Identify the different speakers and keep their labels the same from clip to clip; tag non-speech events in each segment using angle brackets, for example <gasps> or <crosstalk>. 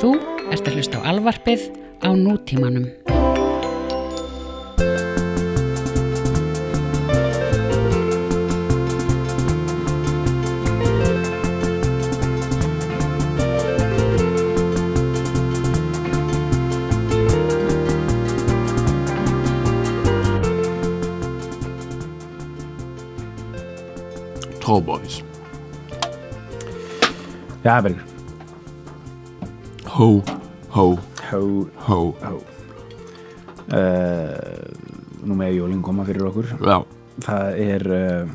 Speaker 1: Þú ert að hlusta á alvarpið á nútímanum.
Speaker 2: Tallboys
Speaker 3: Jævel,
Speaker 2: Ho, ho,
Speaker 3: hó,
Speaker 2: ho
Speaker 3: hó uh, Nú með jólinn koma fyrir okkur
Speaker 2: Já,
Speaker 3: Það er uh,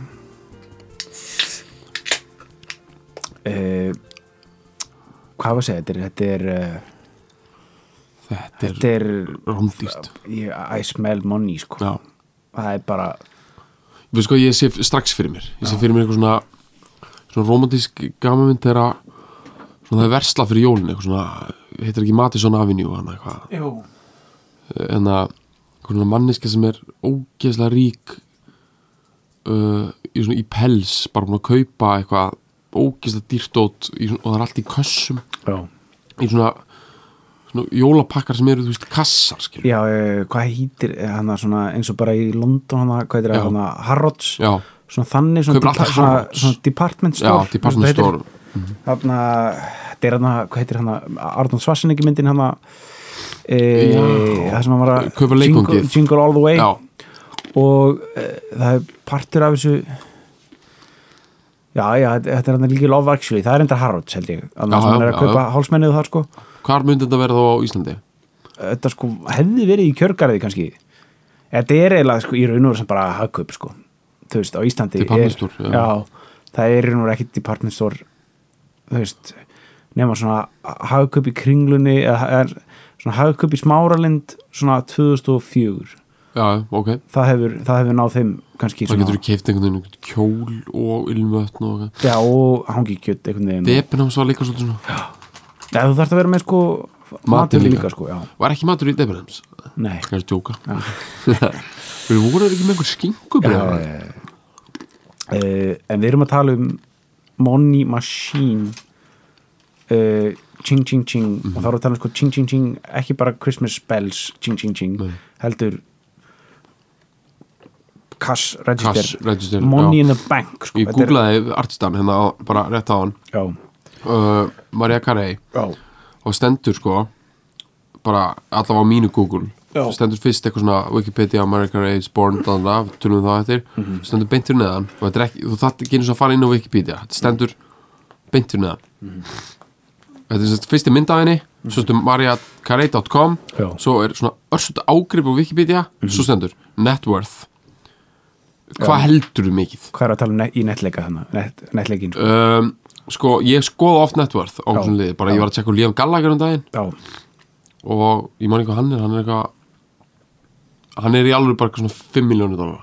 Speaker 3: uh, Hvað var að segja, þetta er Þetta er, uh,
Speaker 2: þetta er,
Speaker 3: þetta er
Speaker 2: rámdýrt
Speaker 3: ég, I smell money sko
Speaker 2: Já,
Speaker 3: Það er bara
Speaker 2: við sko ég sé strax fyrir mér Ég sé fyrir mér eitthvað svona svona romantísk gamamind þegar að svona það er versla fyrir jólin eitthvað svona, heitir ekki Matisson Avenue hann eitthvað
Speaker 3: Jú
Speaker 2: en að eitthvað svona manniska sem er ógeðslega rík uh, í svona í pels bara búin að kaupa eitthvað ógeðslega dýrtót í, svona- og það er allt í kössum
Speaker 3: Já,
Speaker 2: í svona, svona jólapakkar sem eru þú veist kassar skilur
Speaker 3: já uh, hvað hýtir hann svona eins og bara í London hana, hvað heitir
Speaker 2: Já.
Speaker 3: það, hana, Harrods
Speaker 2: já,
Speaker 3: Svona þannig, svona,
Speaker 2: Kaupir alltaf
Speaker 3: svona,
Speaker 2: Harrods.
Speaker 3: svona department
Speaker 2: já,
Speaker 3: store
Speaker 2: department
Speaker 3: Þetta heitir-
Speaker 2: store
Speaker 3: þarna, þetta er hann að, hvað heitir hann að Arnold Schwarzenegger myndin hann að e,
Speaker 2: Já.
Speaker 3: það sem hann var að
Speaker 2: Kaupa
Speaker 3: jingle,
Speaker 2: leikfangið.
Speaker 3: jingle all the way
Speaker 2: já,
Speaker 3: og e, það er partur af þessu já, já, þetta- þetta er hann að líka Love Actually, það er enda Harrods held ég
Speaker 2: Já,
Speaker 3: þannig að hann
Speaker 2: já,
Speaker 3: er að
Speaker 2: já,
Speaker 3: kaupa
Speaker 2: já.
Speaker 3: hálsmennið þar sko
Speaker 2: hvar myndi þetta vera þá á Íslandi?
Speaker 3: þetta sko hefði verið í kjörgarði kannski þetta er eiginlega sko í raun og veru sem bara hagkaup sko þú veist á Íslandi
Speaker 2: Department
Speaker 3: er-
Speaker 2: store, já.
Speaker 3: já. það er í raun og veru ekkit department store þú veist nema svona hagkaup í kringlunni eða eða svona hagkaup í smáralind svona 2004
Speaker 2: já, ok,
Speaker 3: það hefur, það hefur náð þeim kannski
Speaker 2: það
Speaker 3: svona
Speaker 2: getur þú keift einhvern veginn kjól og ilmvötn og eitthvað
Speaker 3: já og hangi kjött einhvern veginn
Speaker 2: Debenhams var líka svolítið svona
Speaker 3: Já, þú þarft að vera með sko
Speaker 2: Matinn líka.
Speaker 3: sko, já,
Speaker 2: var ekki matur í Debenhams,
Speaker 3: nei
Speaker 2: kannski að djóka <laughs> við vorum ekki með einhver skinkubrið
Speaker 3: Já, já, já. Eh, en við erum að tala um Money Machine uh, Ching Ching Ching
Speaker 2: Mhm.
Speaker 3: og þá erum við að tala um sko Ching Ching Ching ekki bara Christmas Bells Ching Ching Ching
Speaker 2: Nei.
Speaker 3: heldur Cash Register,
Speaker 2: Cash Register,
Speaker 3: Money
Speaker 2: já.
Speaker 3: in the Bank sko.
Speaker 2: ég
Speaker 3: Þetta er-
Speaker 2: googlaði artistan hérna á- bara rétt á hann
Speaker 3: já,
Speaker 2: uh, Maria Carey
Speaker 3: já,
Speaker 2: og stendur sko bara allavega á mínu Google
Speaker 3: Já.
Speaker 2: stendur fyrst eitthvað svona Wikipedia American Age Born dana, við tölum það eftir
Speaker 3: Mhm.
Speaker 2: stendur beintur neðan og þetta er ekki, þú þarft ekki einu sinni að fara inn á Wikipedia þetta stendur beintur neðan
Speaker 3: Mhm.
Speaker 2: þetta er sérst fyrsti mynd af henni svo stendur mariacarey.com
Speaker 3: Já. Mhm.
Speaker 2: svo er svona örsut ágrip á Wikipedia svo stendur net worth hvað heldur mikið
Speaker 3: hvað er að tala um ne í netleika þannig net, netleikin sko.
Speaker 2: um, sko ég skoða oft net worth á
Speaker 3: Já.
Speaker 2: þessum liði, bara ég var að tjekka úr Liam Gallagher um daginn
Speaker 3: já,
Speaker 2: og ég man ekki hvað hann er hann er eitthvað hann er í alveg bara eitthvað svona 5 miljónir dólar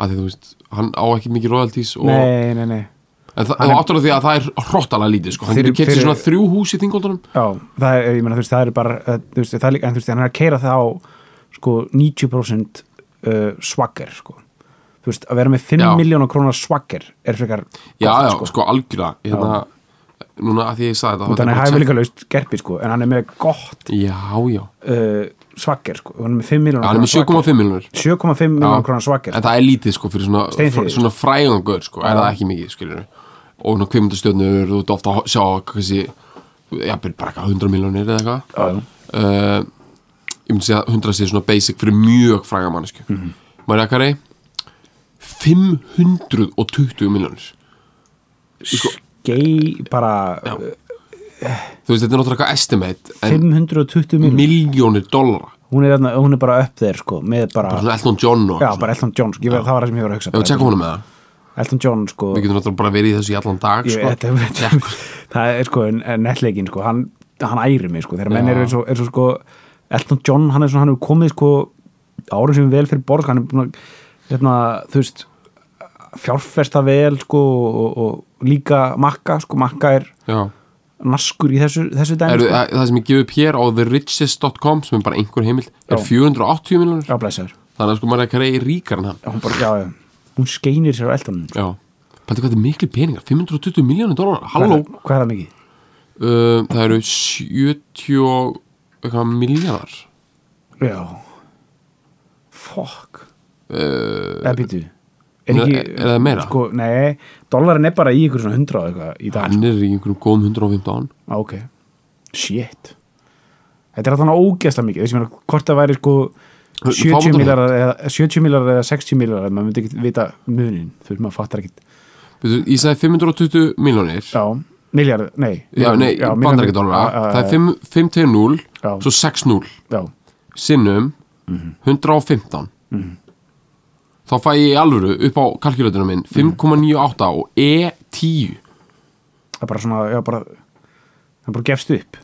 Speaker 2: að því þú veist, hann á ekki mikið royalties og, en
Speaker 3: nei, nei, nei
Speaker 2: það, og áttur á því að það er hróttalega lítið sko. hann
Speaker 3: Fyrir-
Speaker 2: getur keypt sér
Speaker 3: fyrir-
Speaker 2: svona þrjú hús í þingoldunum
Speaker 3: Já, það er, ég meina, þú veist, það er bara eh, þú veist, það er líka, en þú veist, hann er að keira það á sko 90% uh, swagger, sko þú veist, að vera með 5
Speaker 2: Já.
Speaker 3: miljónar krónar swagger er frekar
Speaker 2: já, já,
Speaker 3: sko,
Speaker 2: sko, algjörlega hérna, núna að því ég sagði þetta þá
Speaker 3: þannig
Speaker 2: ætla
Speaker 3: að
Speaker 2: ég
Speaker 3: hæfa
Speaker 2: bara
Speaker 3: líka laust gerpi, sko en hann er með gott
Speaker 2: að checka. já, já,
Speaker 3: uh, swagger, sko, hann er með 5
Speaker 2: Já,
Speaker 3: miljónar
Speaker 2: hann er með 7,5 miljónir
Speaker 3: 7,5 miljónar krónar swagger
Speaker 2: en það er lítið sko fyrir svona,
Speaker 3: Steinþýður.
Speaker 2: fr- svona frægangur sko, er það ekki mikið skilur og svona kvimundastjörnur þú ert ofta að sjá kannski já, bara eitthvað 100 miljónir eða eitthvað
Speaker 3: Já.
Speaker 2: uh, ég myndi segja að 100 sé svona basic fyrir mjög fræga mannesku mm
Speaker 3: Mhm.
Speaker 2: -hmm. Marja Kari 520 miljónir sko-
Speaker 3: gei bara eh,
Speaker 2: þú veist þetta er náttúrulega eitthvað estimate en
Speaker 3: 520 miljónar
Speaker 2: miljónir dollara
Speaker 3: hún, er þarna- hún er bara upp þeir, sko, með bara,
Speaker 2: svona Elton John og
Speaker 3: já,
Speaker 2: svona.
Speaker 3: bara Elton John, sko, ég veit, það var það sem ég var að hugsa
Speaker 2: já, tjekka honum með það
Speaker 3: Elton John, sko
Speaker 2: við getum náttúrulega bara verið í þessu í allan dag
Speaker 3: Ég-
Speaker 2: sko.
Speaker 3: þetta, þetta, það er sko en- en netleikin sko, hann, hann æri mig sko þegar menn
Speaker 2: Já.
Speaker 3: eru eins og, eins og sko Elton John, hann er svona, hann hefur komið sko árum sem vel fyrir borg, hann er búin að hérna, þú veist fjárfesta vel sko og, og líka makka, sko makka er
Speaker 2: já
Speaker 3: naskur í þessu, þessu dæmi
Speaker 2: er,
Speaker 3: sko.
Speaker 2: það sem ég gef upp hér á therichest.com sem er bara einhver heimil er
Speaker 3: Já.
Speaker 2: 480 miljonir
Speaker 3: já, blessaður,
Speaker 2: þannig að sko maður er ekki reyði ríkar en hann
Speaker 3: Já, hún bara, já, já hún skeinir sér á Elton
Speaker 2: já Pældi hvað þetta er miklu peningar, 520 miljónir dólar, halló,
Speaker 3: hvað er það mikið?
Speaker 2: uh, það eru 70 og eitthvað miljardar
Speaker 3: já fokk
Speaker 2: Eh,
Speaker 3: uh, eða býtu er,
Speaker 2: er- er það meira?
Speaker 3: sko, nei, dollarinn er bara í ykkur svona 100 og eitthvað í dag
Speaker 2: hann er í einhverjum góðum 115
Speaker 3: ah, ok, shit þetta er þannig ógeðslega mikið þessi meina, hvort það væri sko
Speaker 2: Fáum
Speaker 3: 70
Speaker 2: þetta
Speaker 3: miljardar eða, 70 miljardar eða 60 miljardar maður myndi ekki vita munin þú veist maður fattar ekki
Speaker 2: Veitu, ég sagði 520 miljónir
Speaker 3: já, miljardar, nei
Speaker 2: já, nei, bandar ekki
Speaker 3: já,
Speaker 2: dólar
Speaker 3: já,
Speaker 2: það er 5 5 til 0,
Speaker 3: Já.
Speaker 2: svo 6 0
Speaker 3: já,
Speaker 2: sinnum 115 þá fæ ég í alvöru upp á kalkulatorinu minn 5,98 og E E10
Speaker 3: það er bara svona já, bara, það bara gefst upp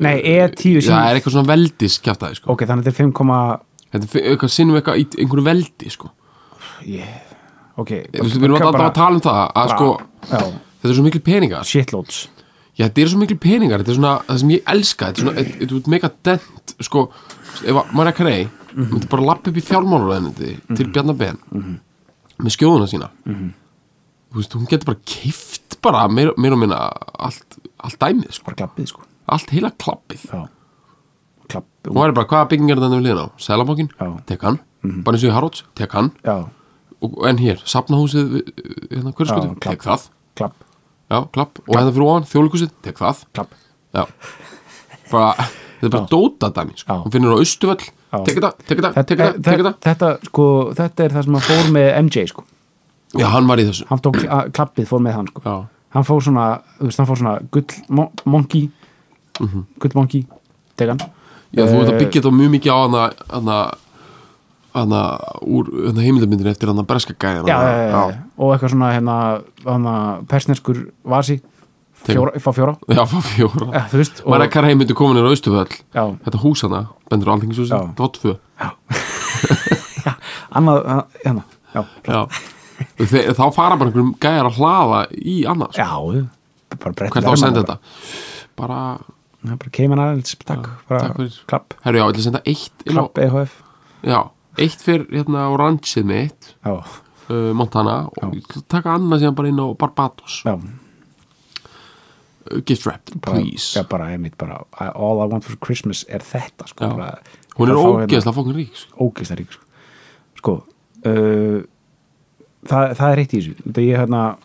Speaker 3: nei, E10 sem,
Speaker 2: Uh, það er eitthvað svona veldiskjaftaði sko.
Speaker 3: ok, þannig þetta er 5,
Speaker 2: þetta er fi- eitthvað sinnum eitthvað í einhverju veldi sko.
Speaker 3: yeah. ok
Speaker 2: Þú veist, við erum alltaf að tala um það að sko,
Speaker 3: já,
Speaker 2: þetta er svo mikil peningar
Speaker 3: shitloads
Speaker 2: Já, þetta eru svo mikil peningar, þetta er svona það sem ég elska, þetta er svona, þetta þetta er mega dent sko, ef að Marja Carey myndi bara lappa upp í fjármálaræðinandi til
Speaker 3: Mhm.
Speaker 2: Bjarnar Ben með skjóðuna sína þú veist, hún getur bara keift bara meir, meir og minna allt, allt dæmið, sko,
Speaker 3: bara klappið sko
Speaker 2: allt heila klappið
Speaker 3: já, klapp
Speaker 2: hún væri bara, hvaða bygging er þetta við liðin á? Sælamokkin,
Speaker 3: Já. Mhm.
Speaker 2: tek hann, bara eins og í Harrods tek hann,
Speaker 3: já,
Speaker 2: og, en hér, safnahúsið við- hérna, hverju
Speaker 3: Já,
Speaker 2: skutum,
Speaker 3: klapp.
Speaker 2: tek það
Speaker 3: klapp,
Speaker 2: já, klapp, og hérna fyrir ofan, þjóðleikusið, tek það
Speaker 3: klapp
Speaker 2: Já bara, Þetta er bara dóta dæmi
Speaker 3: Já.
Speaker 2: sko. Hún finnur á austuvöll Tekka það, tekka það, tekka það, tekka
Speaker 3: þetta,
Speaker 2: það
Speaker 3: þetta, sko, þetta er það sem að fór með MJ sko.
Speaker 2: Já, hann var í þessu
Speaker 3: hann tók kla- klappið fór með hann sko.
Speaker 2: Já.
Speaker 3: hann fór svona, þú veist, hann fór svona gull mo- monkey gull monkey, tegan
Speaker 2: Já, þú
Speaker 3: Eh.
Speaker 2: veit að byggja þetta mjög mikið á hana hana, hana úr hana heimildamindin eftir hana breska gæðan
Speaker 3: já, já, já, já. og eitthvað svona hérna, hérna persneskur vasi fjóra, fá fjóra
Speaker 2: Já, fá fjóra
Speaker 3: Eh, þú veist, og-
Speaker 2: Var ekkar heimildi komin er á austuvöll
Speaker 3: Já.
Speaker 2: Þetta hús hana, bendur á alþingishúsin
Speaker 3: Já.
Speaker 2: Það var tvö
Speaker 3: <laughs> annað, hérna, já
Speaker 2: Já Og Þeir, þá fara bara einhverjum gæjar að hlaða í annars
Speaker 3: já, bara brett
Speaker 2: hvert á að senda þetta bara,
Speaker 3: þetta bara kemur hann aðeins, takk,
Speaker 2: takk
Speaker 3: bara
Speaker 2: fyrir.
Speaker 3: klapp,
Speaker 2: herru já, ég ætla að senda eitt inn á-
Speaker 3: klapp E EHF
Speaker 2: já, eitt fyrir hérna á ranchið mitt
Speaker 3: já,
Speaker 2: uh, Montana og taka annað síðan bara inn á Barbados
Speaker 3: já,
Speaker 2: uh, gift wrapped,
Speaker 3: bara,
Speaker 2: please
Speaker 3: já, bara, einmitt, bara I- all I want for Christmas er þetta sko,
Speaker 2: Já.
Speaker 3: bara,
Speaker 2: hún er
Speaker 3: að fá hérna-
Speaker 2: ógeðslega fókin rík sko.
Speaker 3: ógeðslega rík sko, sko uh, það, það er eitt í þessu þetta ég hérna,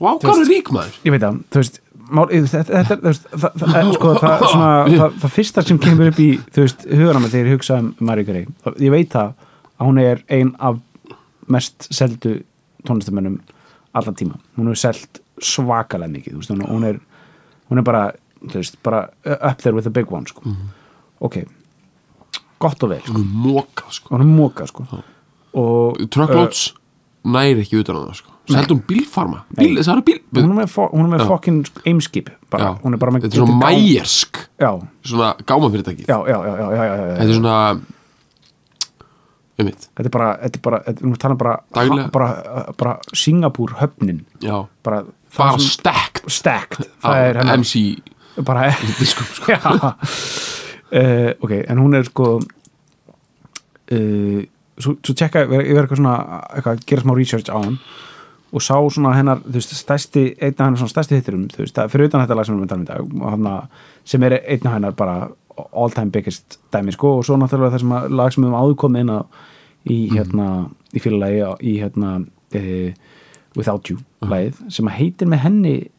Speaker 2: og ákvæmur rík maður
Speaker 3: ég veit að þú veist, mál, þetta, þetta, þú veist það, það, sko, það, svona, það, það fyrsta sem kemur upp í þú veist, huganum þegar ég hugsa um Marie Grey, ég veit það að hún er ein af mest seldu tónlistamönnum allan tíma, hún er seld svakalega mikið, þú veist, hún, hún er hún er bara, þú veist, bara up there with the big one, sko
Speaker 2: Mhm.
Speaker 3: ok, gott og vel, sko
Speaker 2: hún er móka sko.
Speaker 3: hún er móka, sko og
Speaker 2: truckloads
Speaker 3: Uh,
Speaker 2: næri ekki utan á það sko. seldu hún bílfarma bíl, það eru bíl
Speaker 3: eh, hún er með, fo- hún er með fokkin eimskip bara,
Speaker 2: Já.
Speaker 3: hún er bara með
Speaker 2: þetta er svona
Speaker 3: gá-
Speaker 2: mæjersk
Speaker 3: já,
Speaker 2: svona gámafyrirtæki
Speaker 3: já, já, já, já, já, já, já.
Speaker 2: þetta er svona um mitt
Speaker 3: þetta er bara, þetta er bara, þetta, hún er talað bara
Speaker 2: Daglega.
Speaker 3: bara, bara Singapúr höfnin
Speaker 2: já
Speaker 3: bara,
Speaker 2: bara stekt
Speaker 3: stekt það er
Speaker 2: á
Speaker 3: hennar
Speaker 2: MC <laughs>
Speaker 3: bara,
Speaker 2: Ah, diskum sko.
Speaker 3: já
Speaker 2: <laughs>
Speaker 3: uh, ok, en hún er sko uh, svo, svo tjekka, ég verið ég var eitthvað svona eitthvað, að gera smá research á hann og sá svona hennar, þú veist, stærsti einn af hennar svona stærsti hittirum, þú veist, það- fyrir utan þetta lag sem við erum að tala um í dag, hana, sem er einn af hennar bara all time biggest dæmi, sko, og svo náttúrulega það sem að lag sem við höfum áður komið inn á í
Speaker 2: Mhm.
Speaker 3: hérna, í félagi í hérna uh, Without You,
Speaker 2: Mhm.
Speaker 3: lagið, sem að heitir með henni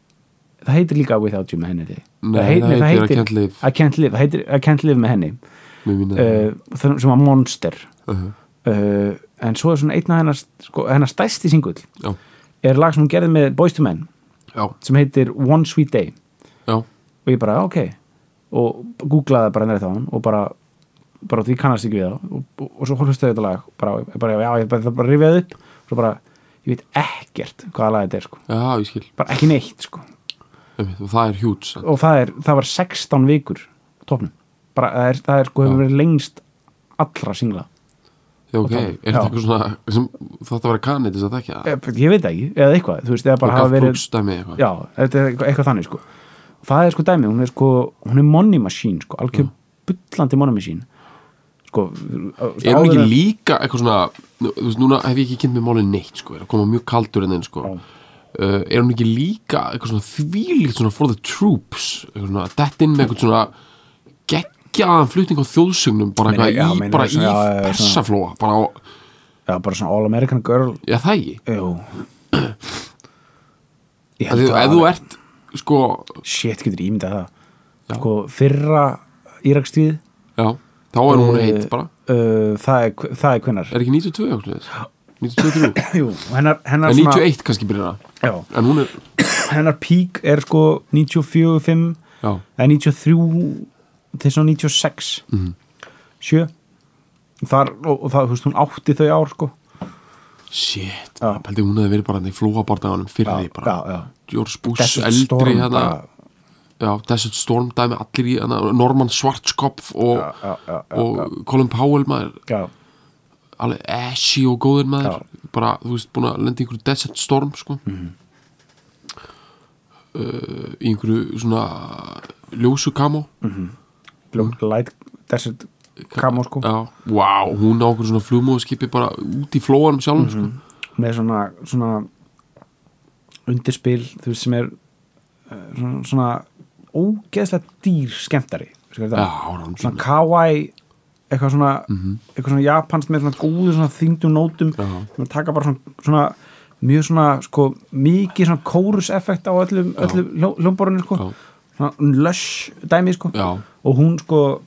Speaker 3: það heitir líka Without You með henni
Speaker 2: Nei,
Speaker 3: það heit-
Speaker 2: það
Speaker 3: nei,
Speaker 2: heitir I Can't Live.
Speaker 3: I Can't Live, það heitir I Can't Live með henni
Speaker 2: með mína
Speaker 3: uh, það- sem var Monster
Speaker 2: Mhm.
Speaker 3: uh, en svo er svona einn af hennar sko, hennar stæsti singull
Speaker 2: já
Speaker 3: er lag sem hún gerði með Boyz II Men
Speaker 2: já
Speaker 3: sem heitir One Sweet Day
Speaker 2: já
Speaker 3: og ég bara, ok og googlaði bara neitt á hann og bara, bara því kannast ekki við það og, og, og svo hlustaði þetta lag bara, bara, já, ég bara, það bara rifjaði upp svo bara, ég veit ekkert hvaða lag þetta er sko.
Speaker 2: já, ég skil
Speaker 3: bara ekki neitt sko.
Speaker 2: Einmitt, og það er hjúts
Speaker 3: og það, er, það var 16 vikur á topnum bara, það, er, það er sko hefur verið lengst allra singla
Speaker 2: já, ok,
Speaker 3: það-
Speaker 2: er
Speaker 3: já.
Speaker 2: þetta eitthvað svona sem, þetta var kanið þess að þekja
Speaker 3: Eh, ég veit það ekki, eða eitthvað þú veist, eða bara
Speaker 2: bara
Speaker 3: hafa
Speaker 2: hafa
Speaker 3: verið
Speaker 2: verið
Speaker 3: já, þetta er eitthvað, eitthvað þannig sko það er sko dæmi, hún er sko hún er money machine sko, algjör bullandi money machine sko,
Speaker 2: Mm. er hún ekki
Speaker 3: áður en-
Speaker 2: líka eitthvað svona nú- þú veist, núna hef ég ekki kynnt með málið neitt sko, er að koma mjög kaldur en enn sko
Speaker 3: Já.
Speaker 2: uh, er hún ekki líka eitthvað svona þvílíkt svona for the troops eitthvað svona dett inn með eitthvað svona geggjaðan flutning á þjóðsögnum bara
Speaker 3: Meina,
Speaker 2: eitthvað
Speaker 3: já,
Speaker 2: í,
Speaker 3: meina,
Speaker 2: bara
Speaker 3: svona,
Speaker 2: í
Speaker 3: já, já, já,
Speaker 2: persaflóa bara á,
Speaker 3: Já, bara svona All American Girl
Speaker 2: já það ekki
Speaker 3: Jú Ég
Speaker 2: Af því
Speaker 3: held
Speaker 2: að ef þú ert sko,
Speaker 3: Shit, getur ímyndað það Sko, fyrra Írakstíð
Speaker 2: já, þá er hún heit bara,
Speaker 3: uh, það, er, hve- það er hvenar
Speaker 2: er ekki 92 eitthvað svoleiðis?
Speaker 3: <gasps>
Speaker 2: 92, 93
Speaker 3: Jú, hennar, hennar
Speaker 2: en 91 kannski byrjar það
Speaker 3: já,
Speaker 2: en hún er,
Speaker 3: Hennar pík er sko 94, 5
Speaker 2: já,
Speaker 3: Það er 93 til svona 96 mm
Speaker 2: Mhm.
Speaker 3: -hmm. 7 Þar, og, og það, þú veist, hún átti þau ár sko
Speaker 2: shit
Speaker 3: Já.
Speaker 2: pældi hún hefði verið bara þannig flóabardaganum fyrir því bara,
Speaker 3: já, já.
Speaker 2: George Bush
Speaker 3: Desert
Speaker 2: eldri
Speaker 3: Storm
Speaker 2: hérna,
Speaker 3: bara-
Speaker 2: já, Desert Storm dæmi allir í hana, Norman Schwarzkopf og,
Speaker 3: já, já, já,
Speaker 2: og Colin Powell maður,
Speaker 3: já,
Speaker 2: alveg ashy og góður maður bara, þú veist, búin að lenda í einhverju Desert Storm sko
Speaker 3: Mhm.
Speaker 2: uh, í einhverju svona ljósu kamó
Speaker 3: Mm. Blue Light Desert Camo sko
Speaker 2: Mhm. já, wow, hún á einhverju svona flugmóðskipi bara út í flóanum sjálfum
Speaker 3: Mhm.
Speaker 2: sko.
Speaker 3: með svona, svona undirspil þú veist sem er eh, svona, svona ógeðslega dýr skemmtari Veistu hvað
Speaker 2: já,
Speaker 3: þetta er?
Speaker 2: hún er
Speaker 3: svona kawaii eitthvað svona, eitthvað svona japanst með svona góðu svona þyngdum nótum sem taka bara svona, svona mjög svona sko mikið svona kórus effekt á öllum, öllum ljómborunni sko
Speaker 2: Já.
Speaker 3: svona lush dæmi sko
Speaker 2: Já.
Speaker 3: og hún sko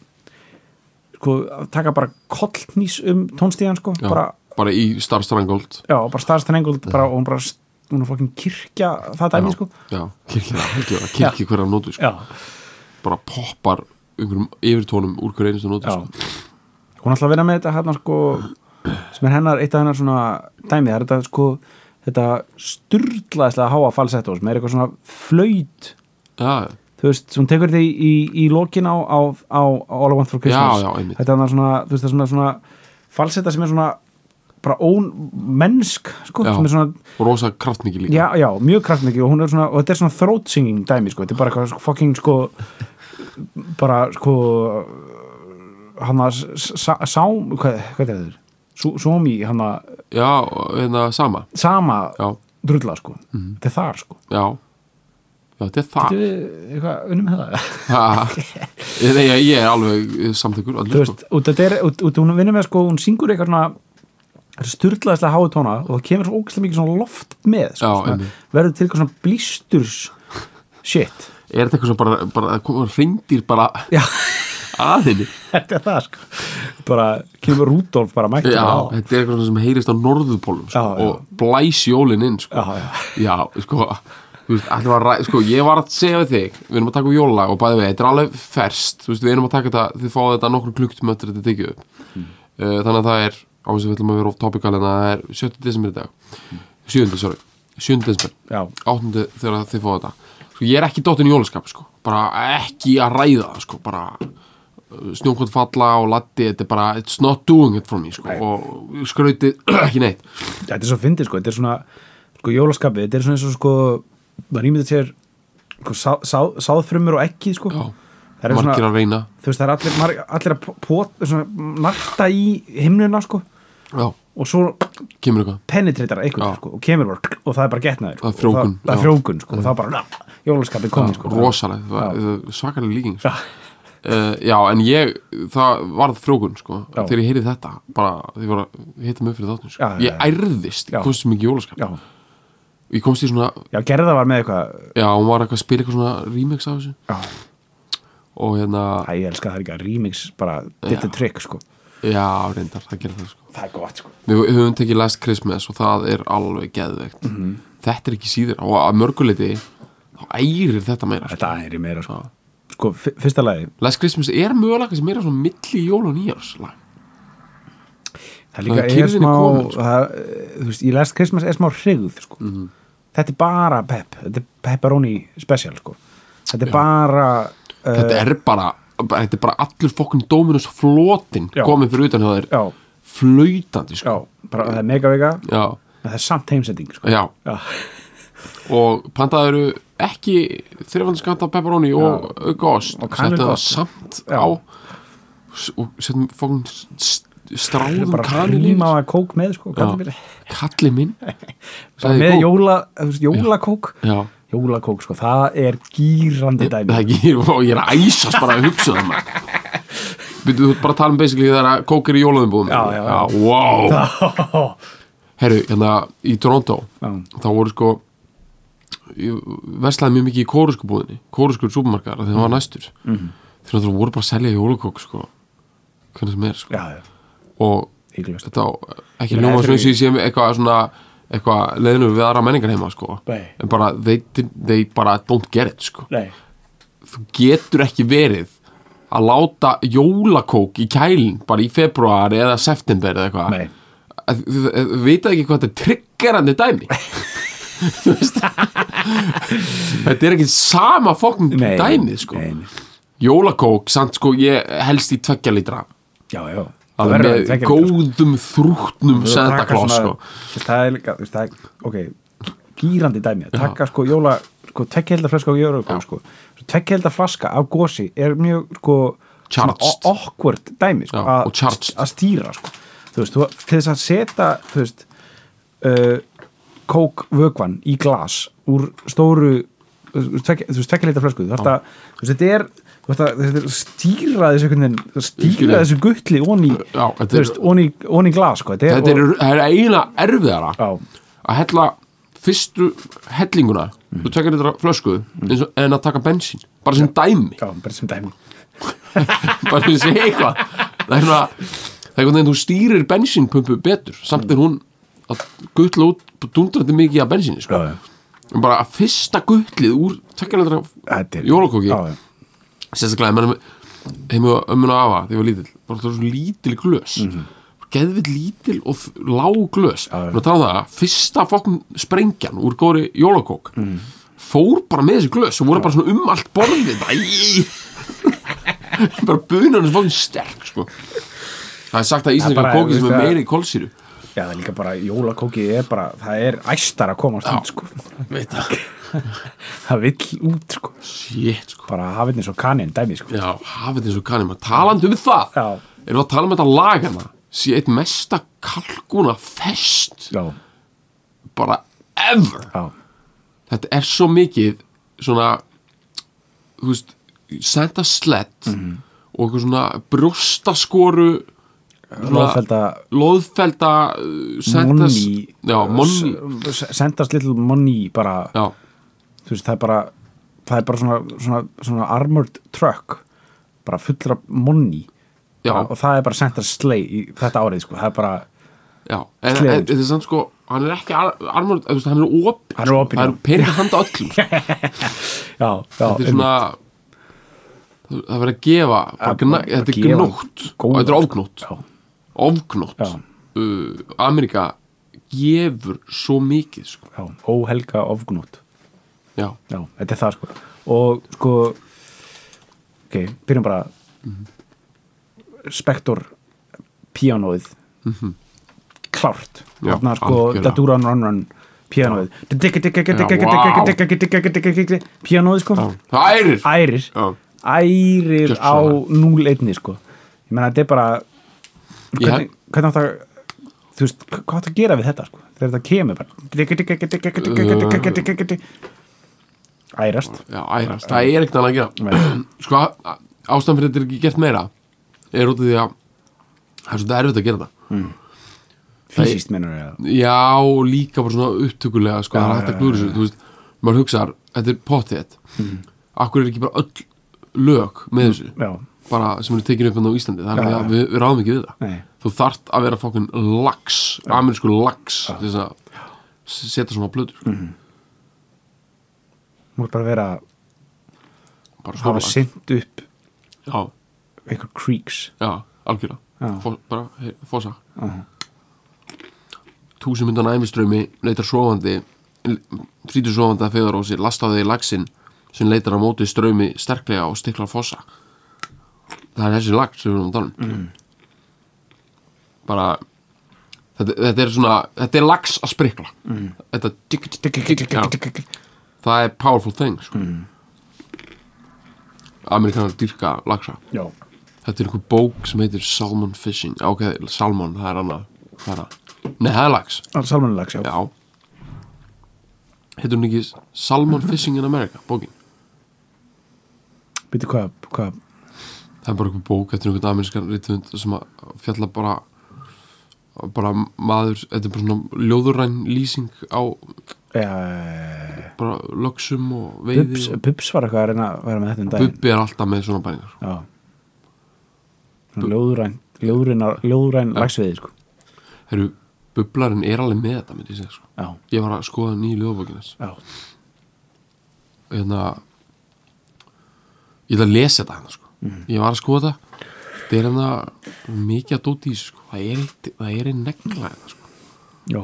Speaker 3: sko taka bara kollnís um tónstíðan sko
Speaker 2: já,
Speaker 3: bara
Speaker 2: bara, í Star Strangled
Speaker 3: já, bara starfstæðan engult bara, og hún bara, hún er fokkin kirkja það dæmi, sko
Speaker 2: já, kirkja, kirkja, kirkja hverja nótu sko.
Speaker 3: já,
Speaker 2: bara poppar einhverjum yfirtónum úr hverju einustu nótu
Speaker 3: já.
Speaker 2: sko.
Speaker 3: hún ætla að vera með þetta hérna, sko sem er hennar, eitt af hennar svona dæmi það er þetta, sko, þetta styrlaðislega háa falsetto sem er eitthvað svona flöyt
Speaker 2: já,
Speaker 3: þú veist, hún tekur þetta í, í, í lokin á, á, á All I Want For Christmas
Speaker 2: Já, já, einmitt.
Speaker 3: þetta er þarna svona, þú veist, það er svona, svona falsetta sem er svona bara ómennsk, sko,
Speaker 2: Já.
Speaker 3: sem er svona
Speaker 2: og rosa kraftmikið líka
Speaker 3: já, já, mjög kraftmikið og, hún er svona, og þetta er svona throat singing dæmi sko. þetta er bara eitthvað sko, fucking sko, bara sko hann að sá, hvað, hvað er þetta? Sú- Sómi, hann að
Speaker 2: Já, og hérna sama
Speaker 3: sama
Speaker 2: Já,
Speaker 3: drulla sko, þetta er þar sko
Speaker 2: já Já, þetta er það
Speaker 3: Þú eitthvað unnum með það
Speaker 2: Ha, ég, ég, ég er alveg samtökur
Speaker 3: þú
Speaker 2: allir, sko.
Speaker 3: veist, og þetta er, og, og hún vinnur með sko, hún syngur eitthvað svona styrlaðislega háu tóna og það kemur svo ógæslega mikið svona loft með sko,
Speaker 2: Já,
Speaker 3: svona,
Speaker 2: einmitt.
Speaker 3: verður til eitthvað svona blísturs shit,
Speaker 2: Er þetta eitthvað svona bara, bara koma hrindir bara
Speaker 3: já
Speaker 2: aðinni
Speaker 3: þetta er það sko bara kemur Rúdolf bara mættur
Speaker 2: Já,
Speaker 3: bara á.
Speaker 2: þetta er eitthvað svona sem heyrist á norðupólum sko,
Speaker 3: Já, já.
Speaker 2: og blæs jólin inn sko.
Speaker 3: Já, já.
Speaker 2: sko Þú veist, ætlum að ræ, sko, ég var að segja við þig við erum að taka upp jólalag og bæði við, þetta er alveg ferst þú veist, við erum að taka þetta, þið fáið þetta nokkur klukktum eftir þetta tekið upp
Speaker 3: Hmm.
Speaker 2: uh, þannig að það er, á þess að við ætlum að vera of topical en það er 7. desember í dag 7. sorry, 7. desember
Speaker 3: Hmm. já,
Speaker 2: 8. þegar þið fá þetta sko, ég er ekki dottin í jólaskap sko. bara ekki að ræða það, sko. bara snjókvæmt falla og latti þetta er bara, it's not doing it for me sko. og skrautið, <clears throat> ekki neitt
Speaker 3: þetta er svo fyndið sko þetta er svona, sko jólaskapið þetta er svona eins og sko, það rýmið sér sko, sá, sá, sáðfrumur og ekki sko
Speaker 2: Já.
Speaker 3: það er
Speaker 2: margir
Speaker 3: svona,
Speaker 2: að reyna
Speaker 3: þú veist það er allir, marg, allir að pot, svona, narta í himnuna sko
Speaker 2: já,
Speaker 3: og svo
Speaker 2: kemur eitthvað
Speaker 3: penetreitar
Speaker 2: Já.
Speaker 3: eitthvað sko, og kemur bara krk, og það er bara getnaður sko,
Speaker 2: Það er frjóvgun, já. Mm.
Speaker 3: og það, það er frjókun sko, og það er bara na, jólaskapið komið sko
Speaker 2: rosaleg, það-
Speaker 3: Já.
Speaker 2: það er svakaleg líking sko.
Speaker 3: Já.
Speaker 2: Uh, já, en ég það varð frjókun, sko,
Speaker 3: Já.
Speaker 2: þegar ég heyrið þetta bara, því var að hitta mig fyrir þáttum sko.
Speaker 3: Já, já,
Speaker 2: ég
Speaker 3: já.
Speaker 2: ærðist,
Speaker 3: Já.
Speaker 2: ég komst í mikið jólaskap
Speaker 3: já,
Speaker 2: ég komst í svona,
Speaker 3: já gerða var með eitthvað
Speaker 2: já, hún var eitthvað að spila eitthvað svona remix af þessu
Speaker 3: já,
Speaker 2: og hérna,
Speaker 3: Æ, ég elska það líka, remix bara ditt er trikk sko,
Speaker 2: Já, reyndar, það gerir það sko
Speaker 3: það er gott sko
Speaker 2: Við höfum tekið Last Christmas og það er alveg geðveikt
Speaker 3: Mhm.
Speaker 2: Þetta er ekki síður og að mörguleiti þá ærir þetta meira sko.
Speaker 3: Þetta er í meira sko Sko, fyr- fyrsta lagi,
Speaker 2: Last Christmas er mögulega sem meira svona milli jól og nýjárs lag
Speaker 3: það er líka
Speaker 2: Það er
Speaker 3: er
Speaker 2: kyrrðin
Speaker 3: smá
Speaker 2: er komin, sko. Mhm.
Speaker 3: það, eh, Þú veist, í Last Christmas er smá hrigð sko. Þetta er bara pep Þetta er pepperoni special sko. Þetta er bara uh,
Speaker 2: Þetta er bara, bara- þetta er bara allur fokkun Dominus flotin
Speaker 3: Já.
Speaker 2: komin fyrir utan hjá þér
Speaker 3: Já,
Speaker 2: flöytandi
Speaker 3: já,
Speaker 2: sko
Speaker 3: bara það er megavega
Speaker 2: Já,
Speaker 3: en það er samt heimsending sko.
Speaker 2: já,
Speaker 3: Já,
Speaker 2: og pantaði eru ekki þrifandskanta pepperoni og auka ost
Speaker 3: Og
Speaker 2: settu það
Speaker 3: kanilgost.
Speaker 2: samt
Speaker 3: Já.
Speaker 2: á s- og settum fókn
Speaker 3: Ég er
Speaker 2: stráðum
Speaker 3: bara
Speaker 2: kanil
Speaker 3: hrýma að kók með sko,
Speaker 2: Já.
Speaker 3: kalli
Speaker 2: kalli
Speaker 3: <laughs>
Speaker 2: minn sagði
Speaker 3: með
Speaker 2: kók.
Speaker 3: jóla, þú veist, jólakók
Speaker 2: já,
Speaker 3: jólakók, sko, það er gýrandi
Speaker 2: það <laughs>
Speaker 3: dæmi
Speaker 2: er ekki, og ég er að æsast bara að hugsa um það maður
Speaker 3: <laughs>
Speaker 2: Byrju, þú ert bara að tala um basically þegar að kók er í jólaðumbúðum
Speaker 3: Já, já, já.
Speaker 2: wow herru, hérna í Toronto
Speaker 3: Já.
Speaker 2: þá voru sko ég verslaði mjög mikið í kórusku búðinni kórusku supermarkaðar þegar það var næstur mm
Speaker 3: Mhm.
Speaker 2: -hmm. þegar það voru bara að selja jólakók sko hvernig sem er sko
Speaker 3: já, já,
Speaker 2: og
Speaker 3: hygglust
Speaker 2: þetta á ekki
Speaker 3: Ég meina,
Speaker 2: ljóma
Speaker 3: þetta er
Speaker 2: svona sem ég sé eitthvað svona eitthvað leðinu við aðra menningar heima sko
Speaker 3: Nei.
Speaker 2: en bara they, did- they bara don't get it sko
Speaker 3: Nei,
Speaker 2: þú getur ekki verið að láta jólakók í kælin bara í februar eða september eða eitthvað
Speaker 3: nei,
Speaker 2: Að- þú- þú- þú vita ekki hvað þetta er triggerandi dæmi
Speaker 3: <laughs>
Speaker 2: Þú veist? þetta er ekki sama fokkum
Speaker 3: nei
Speaker 2: dæmið sko
Speaker 3: nei, nei.
Speaker 2: jólakók samt sko ég helst í tveggja litra
Speaker 3: Já, já Það verður að
Speaker 2: alveg með
Speaker 3: tveggja litra,
Speaker 2: góðum þrútnum
Speaker 3: sko.
Speaker 2: Santa
Speaker 3: Taka
Speaker 2: Claus
Speaker 3: svona-
Speaker 2: sko
Speaker 3: þú veist, Það er líka, þú veist, það er ok, gýrandi dæmi að taka sko jóla, sko, tvekkjelda flaska á jólakók, sko, tvekkjelda flaska af gósi er mjög, sko
Speaker 2: Charged.
Speaker 3: svona o- awkward dæmi, sko,
Speaker 2: Já, og
Speaker 3: að
Speaker 2: charged.
Speaker 3: að stýra, sko þú veist, þú, til þess að setja, þú veist uh, kók vökvan í glas úr stóru þú veist, tvekkileita flösku þú þarft að, þú veist, þetta er þú þarft að- þetta er að stýra þessu einhvern veginn þú stýra
Speaker 2: Algjörlega.
Speaker 3: þessu guttli onni
Speaker 2: Já, þetta er-
Speaker 3: onni, onni glas sko, þetta er,
Speaker 2: þetta er,
Speaker 3: og,
Speaker 2: það er eiginlega erfiðara
Speaker 3: já,
Speaker 2: að hella fyrstu hellinguna þú tekar þetta flösku eins og, en að taka bensín, bara sem dæmi
Speaker 3: Mhm. já, bara sem dæmi
Speaker 2: bara sem sé eitthvað það er svona, það er einhvern veginn þú stýrir bensínpumpu betur, samt er hún að guttla út, dundrandi mikið af bensíni, sko,
Speaker 3: já,
Speaker 2: en bara að fyrsta guttlið úr tekar
Speaker 3: Þetta
Speaker 2: þetta
Speaker 3: er-
Speaker 2: jólakóki,
Speaker 3: já, já,
Speaker 2: sérstaklega menn, heim og ömmun og afa þegar ég var lítill bara það var svo lítil glös mm geðvill lítil og þ- lág glös
Speaker 3: já.
Speaker 2: og tala um það, fyrsta fokkum sprengjan úr góri jólakók fór bara með þessi glös og voru bara svona um allt borðið bara, í- <laughs> bara bunan þessi fokkum sterk sko. það er sagt að íslenska
Speaker 3: bara,
Speaker 2: kóki sem er
Speaker 3: veist að-
Speaker 2: meiri í kólsýru
Speaker 3: já, það er líka bara jólakóki er bara, það er æstar að komast út sko,
Speaker 2: veit það,
Speaker 3: það vill út sko,
Speaker 2: shit sko
Speaker 3: bara hafið eins og kanin dæmi sko,
Speaker 2: Já, hafið þessu kannum að talandi um það
Speaker 3: Já.
Speaker 2: Erum við að tala um þetta lag hana Sé eitt mesta kalkuna fest
Speaker 3: já,
Speaker 2: Bara ever
Speaker 3: já,
Speaker 2: Þetta er svo mikið Svona Þú veist, senda slett
Speaker 3: Mhm.
Speaker 2: Og eitthvað svona brjóstaskoru
Speaker 3: loðfelda
Speaker 2: Lóðfelda uh, senda-
Speaker 3: Money.
Speaker 2: Já, monni
Speaker 3: S- sendast little money bara,
Speaker 2: Já,
Speaker 3: þú veist, það er bara það er bara svona, svona, svona armored truck bara fullra money
Speaker 2: Já.
Speaker 3: bara, og það er bara sendast slay í þetta árið sko, það er bara,
Speaker 2: já En
Speaker 3: Sleðin.
Speaker 2: en- þetta er samt sko Hann er ekki ar armur þú veist, Hann er opið
Speaker 3: Hann er opinn,
Speaker 2: Það
Speaker 3: já.
Speaker 2: er peningar handa öllum sko.
Speaker 3: já, já
Speaker 2: þetta er svona það það verður að gefa bara, gna, þetta er gnótt og þetta er ofgnótt
Speaker 3: já,
Speaker 2: ofgnótt
Speaker 3: Já.
Speaker 2: uh, Amerika gefur svo mikið sko.
Speaker 3: já, óhelga ofgnót
Speaker 2: já,
Speaker 3: já, þetta er það sko og sko ok, byrjum bara Spector píanóið klárt
Speaker 2: Já,
Speaker 3: þarna sko,
Speaker 2: algjörlega.
Speaker 3: da duran run run píanóið píanóið sko
Speaker 2: já. það ærir
Speaker 3: ærir
Speaker 2: Já.
Speaker 3: ærir
Speaker 2: Gjört
Speaker 3: á
Speaker 2: svona.
Speaker 3: 0-1 sko ég menna þetta er bara
Speaker 2: Ég
Speaker 3: hvernig, hvernig átt að þú veist, hva- hvað átt að gera við þetta sko þegar þetta kemur bara ærast
Speaker 2: já, ærast, það er ekkert annað að gera
Speaker 3: Nei.
Speaker 2: <clears throat> sko, á- ástæðan fyrir þetta er ekki gert meira er út af því að það er svo erfitt að gera það
Speaker 3: fysiskt mennur ég
Speaker 2: Já, líka bara svona upptökulega sko,
Speaker 3: Já,
Speaker 2: það er hægt
Speaker 3: já,
Speaker 2: að glúra þessu, þú veist maður hugsaðar, þetta er potið mm. Akkur er ekki bara öll lög með þessu,
Speaker 3: já,
Speaker 2: bara sem eru tekinu upp hérna á Íslandi, þannig
Speaker 3: Já, já.
Speaker 2: að við, við ráðum ekki við það
Speaker 3: Nei.
Speaker 2: Þú þart að vera fókin lax amerísku lax til þess að s- setja svona plötur, mm.
Speaker 3: Mhm. múið bara vera
Speaker 2: bara
Speaker 3: hafa
Speaker 2: svona
Speaker 3: synd upp
Speaker 2: Já,
Speaker 3: einhver creeks
Speaker 2: já, algjörlega
Speaker 3: Já.
Speaker 2: Fó, bara hey, fossa uh Túsum myndan æmiströmi leitar sofandi frítur sofandi að feðarósi lastaði í lagsin sem leitar á móti strömi sterklega og stiklar fossa það er þessi lag sem við erum að tala um bara þetta, þetta er svona þetta er lags að sprikla mm. þetta tikk, tikk, tikk, tikk, já, það er powerful thing sko. mm. amerikanar dyrka lagsa
Speaker 3: já,
Speaker 2: Þetta er einhver bók sem heitir Salmon Fishing Ok, Salmon, það er annað Það er að Nei, það er lags
Speaker 3: salmanlags, já.
Speaker 2: Já Heitir hún ekki Salmon Fishing in America, bókin
Speaker 3: Býtu hvað, hvað,
Speaker 2: Það er bara einhver bók Þetta er einhver amerískan rítund sem að fjalla bara bara maður, þetta er bara svona ljóðurræn lýsing á
Speaker 3: já,
Speaker 2: bara lögsum og veiði
Speaker 3: Bubs,
Speaker 2: og,
Speaker 3: Bubs var eitthvað að reyna að vera með þetta um daginn.
Speaker 2: Bubbi er alltaf með svona bæringar
Speaker 3: Já. Ljóðræn, ljóðræn, ljóðræn lagsviði, sko.
Speaker 2: Herru, bublarinn er alveg með þetta myndi ég segja sko.
Speaker 3: Já,
Speaker 2: Ég var að skoða nýju ljóðbókinas
Speaker 3: já,
Speaker 2: hérna ég ætla að lesa þetta hérna sko
Speaker 3: Mhm.
Speaker 2: ég var að skoða þetta þetta er hérna mikið að dóti í þessu sko það er, eitt, það er einn negla hérna sko
Speaker 3: já,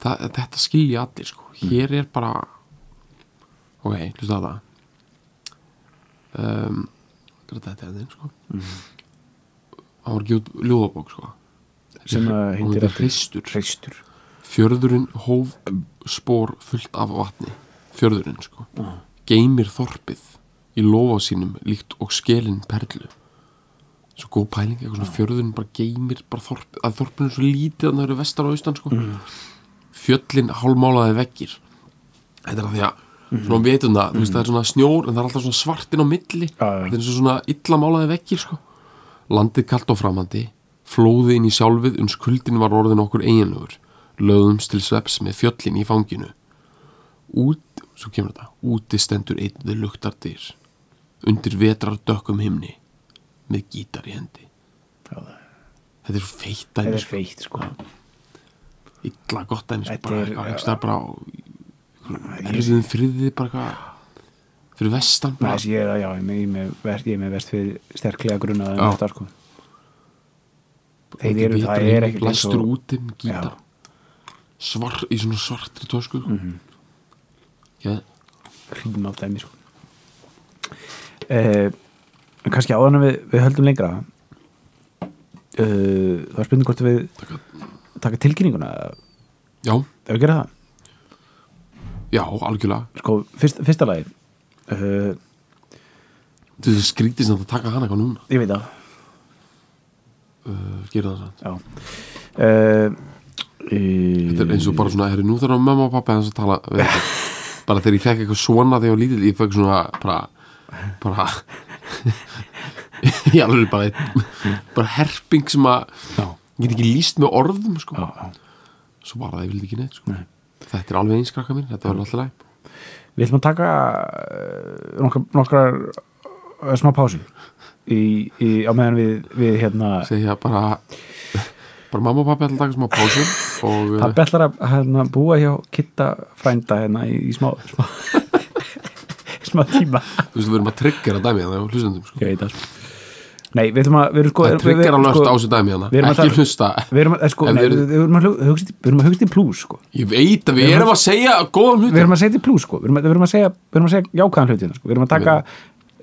Speaker 2: það, þetta skilja allir sko
Speaker 3: Mhm.
Speaker 2: hér er bara ok, hlusta á það um, hvað er þetta er þeim sko
Speaker 3: Mhm.
Speaker 2: það var ekki út ljóðabók sko
Speaker 3: Sem, uh, heitir
Speaker 2: hún heitir
Speaker 3: eftir-
Speaker 2: Hristur
Speaker 3: hreistur.
Speaker 2: Fjörðurinn hóf spór fullt af vatni Fjörðurinn sko Geymir þorpið í lofa sínum líkt og skelin perlu Svo góð pæling, eitthvað svona fjörðurinn bara geymir bara þorpið að þorpinu er svo lítið að það eru vestar og austan sko
Speaker 3: Mm.
Speaker 2: Fjöllin hálmálaði veggir Þetta er að því að
Speaker 3: Mhm.
Speaker 2: svona veitum það, þú veist það er svona snjór en það er alltaf svona svartin á milli
Speaker 3: Mm. Já, já.
Speaker 2: Þetta er eins og svona illamálaði veggir sko Landið kalt og framandi, flóði inn í sjálfið uns kuldin var orðin okkur eiginlegur, löðumst til sveps með fjöllin í fanginu. Út, svo kemur þetta, úti stendur einn við luktar dyr, undir vetrar dökkum himni, með gítar í hendi.
Speaker 3: Já.
Speaker 2: Þetta er feitt dæmi,
Speaker 3: Þetta er
Speaker 2: sko.
Speaker 3: feitt, sko.
Speaker 2: illa gott dæmi, sko,
Speaker 3: Þetta
Speaker 2: bara
Speaker 3: er-
Speaker 2: eitthvað, einhvers staðar bara á,
Speaker 3: sko.
Speaker 2: erfiðum friði, bara eitthvað, fyrir vestan, bara,
Speaker 3: Næs, ég er, já, ég er með- ég er með, ver- ég er með verst fyrir sterklega grunaðum
Speaker 2: Já.
Speaker 3: þetta, sko. Þeir eru, það er ekkert eins
Speaker 2: læstur
Speaker 3: og,
Speaker 2: úti með gítar svar, í svona svartri tósku mm
Speaker 3: Mhm.
Speaker 2: -hmm.
Speaker 3: hrýn á dæmi sko. uh, kannski áðan að við, við höldum lengra uh, það var spurning hvort við
Speaker 2: taka,
Speaker 3: taka tilkynninguna ef
Speaker 2: já,
Speaker 3: við gera það
Speaker 2: já, algjörlega
Speaker 3: sko, fyrst, fyrsta lagi uh,
Speaker 2: þú veist skrítið sem það taka hann eitthvað núna
Speaker 3: ég veit það
Speaker 2: uh, gera það sann
Speaker 3: já. Uh,
Speaker 2: þetta er eins og bara svona, herri, nú þarf að mamma og pappa þess að tala við þetta.
Speaker 3: <laughs>
Speaker 2: bara þegar ég fekk eitthvað svona þegar ég var lítill, ég fekk svona bara, bara <laughs> ég alveg bara bara herping sem að
Speaker 3: já,
Speaker 2: ég get ekki líst með orðum sko.
Speaker 3: já, já.
Speaker 2: svo bara það ég vildi ekki neitt sko.
Speaker 3: Nei.
Speaker 2: þetta er alveg einskrakka mín, þetta verður alltaf læg
Speaker 3: við ætlum að taka uh, nokkar, nokkar uh, smá pásu í, í, á meðan við, við hérna,
Speaker 2: segja bara bara mamma og pappi ætla að taka smá pásu og eh,
Speaker 3: Pappi ætlar að hérna, búa hjá Kitta frænda hérna í, í smá, smá <laughs> smá tíma
Speaker 2: þú veist við erum að triggera dæmi þannig að hlustendum sko.
Speaker 3: Ég veit það Nei, við ætlum að við erum sko
Speaker 2: það
Speaker 3: við- við-
Speaker 2: triggera löst
Speaker 3: sko,
Speaker 2: á þessu dæmi
Speaker 3: við
Speaker 2: þannig
Speaker 3: erum að
Speaker 2: ekki
Speaker 3: tala-
Speaker 2: hlusta
Speaker 3: Við erum að, eh, sko,
Speaker 2: En
Speaker 3: nei,
Speaker 2: við-
Speaker 3: við, við erum að hlu- hugsa í- við erum að hugsa í plús sko.
Speaker 2: ég veit að við erum að segja góðan hlut
Speaker 3: Við erum að segja í plús sko. Við erum að, við erum að segja, við erum að segja jákvæðan hlutina sko. Við erum að taka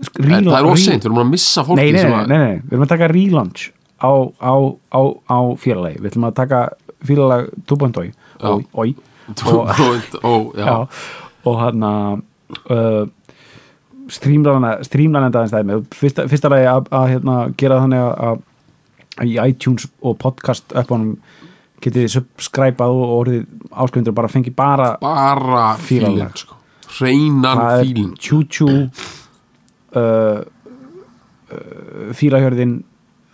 Speaker 3: sk- relaun-
Speaker 2: það er
Speaker 3: relaun-
Speaker 2: ofseint, við erum að missa fólki
Speaker 3: nei nei,
Speaker 2: sem
Speaker 3: nei,
Speaker 2: að-
Speaker 3: nei, nei, við erum að taka relaunch á, á, á, á félagi Við ætlum að taka félag Tubandói og, og,
Speaker 2: <laughs>
Speaker 3: og,
Speaker 2: Tungrónd- ó, já.
Speaker 3: já. og hann að uh, strímlanenda aðeins dæmi fyrsta, fyrsta lagi að, að hérna, gera þannig að- að að í iTunes og podcast uppanum getið þið subscribað og orðið ásköndur bara fengi bara
Speaker 2: bara fílin
Speaker 3: Fílalag.
Speaker 2: sko. hreinan
Speaker 3: það er
Speaker 2: fílin
Speaker 3: tjú-tjú uh, uh, fílahjörðin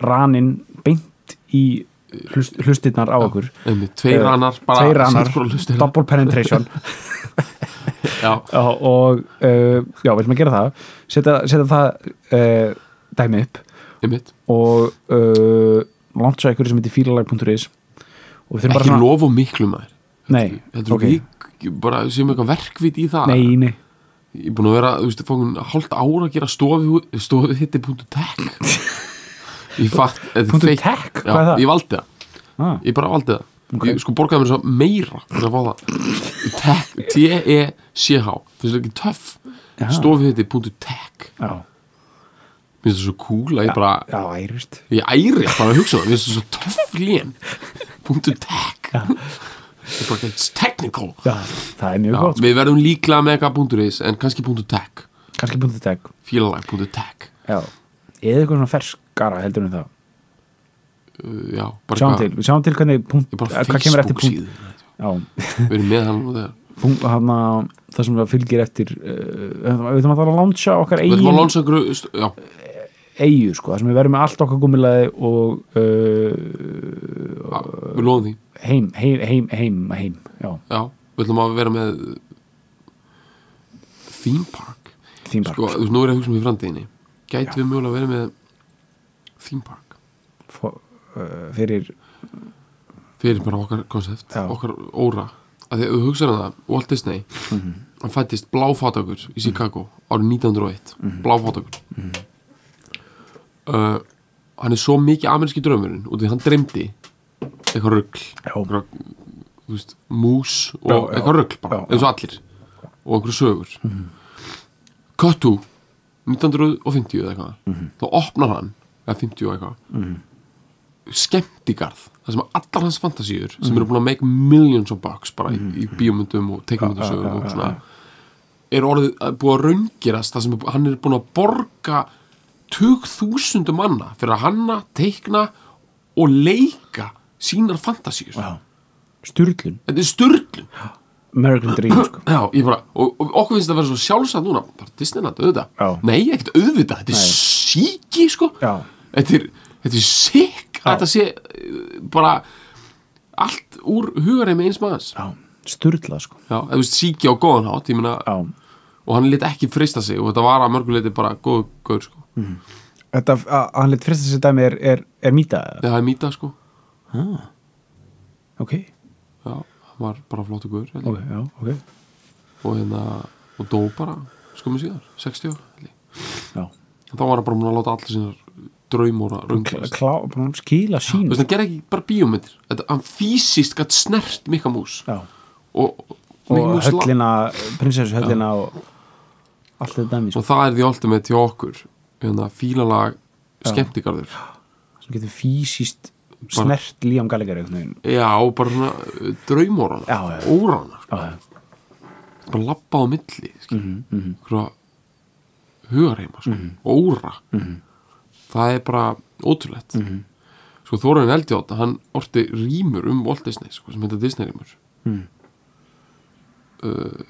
Speaker 3: ranin beint í hlust, hlustirnar á okkur
Speaker 2: Einmitt, tveir
Speaker 3: Eh,
Speaker 2: annar, bara
Speaker 3: tveir annar,
Speaker 2: sitt hvor að hlusta.
Speaker 3: double
Speaker 2: <laughs>
Speaker 3: penetration
Speaker 2: Já,
Speaker 3: Já, og uh, já, við ætlum að gera það setja, setja það uh, dæmi upp
Speaker 2: einmitt.
Speaker 3: og uh, launcha ykkur sem heitir fílalag.is og við þurfum bara
Speaker 2: ekki lof og miklu maður
Speaker 3: nei,
Speaker 2: þetta
Speaker 3: ok,
Speaker 2: okay. er ekki bara sem eitthvað verkvit í það
Speaker 3: nei, nei
Speaker 2: Ég er búin að vera, þú veist, fóðum hálft ára að gera stofu, stofu hitti punktu
Speaker 3: <laughs>
Speaker 2: tech Ég fatt eh,
Speaker 3: Punktur tech? Hvað er það?
Speaker 2: Ég valdi það,
Speaker 3: ah,
Speaker 2: ég bara valdi það Ég sko borgaði mér svo meira fyrir að fá það E Tech, T-E-C-H E Finnst það ekki töff
Speaker 3: Já.
Speaker 2: Stofu hitti punktu tech
Speaker 3: já,
Speaker 2: Mér E finnst það svo cool að ég bara
Speaker 3: já, ærist
Speaker 2: Ég æri bara að hugsa um það, mér finnst það svo töff lén Punktu tech Ég bara, it's technical
Speaker 3: já, það er mjög
Speaker 2: Já,
Speaker 3: gott,
Speaker 2: Við verðum líklega með eitthvað punktur E is En kannski punktu tech
Speaker 3: kannski búin þetta
Speaker 2: Fílalag punktu tech
Speaker 3: já, eða eitthvað svona fersk raskara heldur en það
Speaker 2: uh, já, bara
Speaker 3: sjáum til, við sjáum til hvernig punkt,
Speaker 2: ég
Speaker 3: eh,
Speaker 2: bara
Speaker 3: hvað kemur eftir
Speaker 2: Facebook
Speaker 3: punkt,
Speaker 2: síðu
Speaker 3: já,
Speaker 2: við erum með hann og þegar
Speaker 3: punkt hana, það sem það fylgir eftir uh, við þurfum að það að launcha okkar
Speaker 2: við ætlum að
Speaker 3: eigin
Speaker 2: lónsa gru st- já,
Speaker 3: eigu sko, það sem við verðum með allt okkar gummilaði og uh,
Speaker 2: já, við lóðum því
Speaker 3: heim, heim, heim, heim, heim já,
Speaker 2: já, við ætlum að vera með uh, theme park
Speaker 3: theme park
Speaker 2: sko, þú veist, nú er ég að hugsa um í framtíðinni gæti við mjögulega að vera með theme park
Speaker 3: sko. uh, fyrir
Speaker 2: fyrir bara okkar konsept,
Speaker 3: Já.
Speaker 2: okkar óra að því að þú hugsaður það, Walt Disney
Speaker 3: Mhm.
Speaker 2: hann fættist bláfátakur í Chicago árið 1901
Speaker 3: Mhm.
Speaker 2: bláfátakur uh, hann er svo mikið ameríski draumurinn og því hann dreymdi eitthvað rugl
Speaker 3: já,
Speaker 2: eitthvað, þú veist, mús og
Speaker 3: Já, já.
Speaker 2: eitthvað rugl bara,
Speaker 3: Já, Mhm. já.
Speaker 2: eins og allir og einhverju sögur Köttu 1950 eða eitthvað
Speaker 3: Mhm.
Speaker 2: þá opnar hann, eða 50 og eitthvað skemmtigarð það sem allar hans fantasíur
Speaker 3: Mhm.
Speaker 2: sem eru búin að make millions of bucks bara í, í bíómyndum og teikmyndasögum
Speaker 3: Já, já, já,
Speaker 2: og svona er orðið að búið að raungerast það sem er, hann er búin að borga tug þúsundum manna fyrir að hanna, teikna og leika sínar fantasíur
Speaker 3: já. styrlun,
Speaker 2: þetta er störtlun
Speaker 3: American Dream sko.
Speaker 2: Já, ég bara, og, og okkur finnst þetta að vera svo sjálfsagt núna bara Disneyland, auðvitað
Speaker 3: Já.
Speaker 2: Nei, ekkert auðvitað, þetta er
Speaker 3: Nei.
Speaker 2: síki sko.
Speaker 3: Já.
Speaker 2: þetta er, þetta er sikk að þetta sé eh, bara allt úr hugareimi eins maður Já,
Speaker 3: já, styrla sko
Speaker 2: eða þú veist síki á góðan hátt ég meina,
Speaker 3: já,
Speaker 2: og hann lit ekki frista sig og þetta var að mörguleiti bara góð, góður sko.
Speaker 3: Mm. þetta að að hann leitt frist að setja með er, er, er mýta eða? Ah.
Speaker 2: Þegar það er mýta, sko
Speaker 3: ok,
Speaker 2: Já, hann var bara flottu góður held ég.
Speaker 3: ok, já, ok
Speaker 2: og hérna, og dó bara skömmu síðar, 60 held ég.
Speaker 3: já,
Speaker 2: En þá var hann bara múin að láta allir sínar draumóra
Speaker 3: Kla-
Speaker 2: raungast
Speaker 3: klá, bara um hann skila sín
Speaker 2: þú veist, hann gerði ekki bara bíómyndir þetta, hann fysiskt gætt snert Mikka Mús
Speaker 3: já,
Speaker 2: og, Mikka
Speaker 3: og
Speaker 2: Mús la-
Speaker 3: höllina prinsessu höllina og allt þetta dæmi sko,
Speaker 2: og það er því alltaf með til okkur hérna, fílalag skemmtigarður
Speaker 3: sem getur fysiskt
Speaker 2: Bara-
Speaker 3: snert Líam Gallagher einhvern veginn
Speaker 2: já, og bara svona uh, draumórana
Speaker 3: Já, já, já.
Speaker 2: órana,
Speaker 3: já, já,
Speaker 2: bara labba á milli mm -hmm. hverja hugarheima, sko, óra það er bara ótrúlegt sko, Þóraðin Eldjáta hann orti rýmur um Walt Disney sko, sem heita Disney rýmur uh,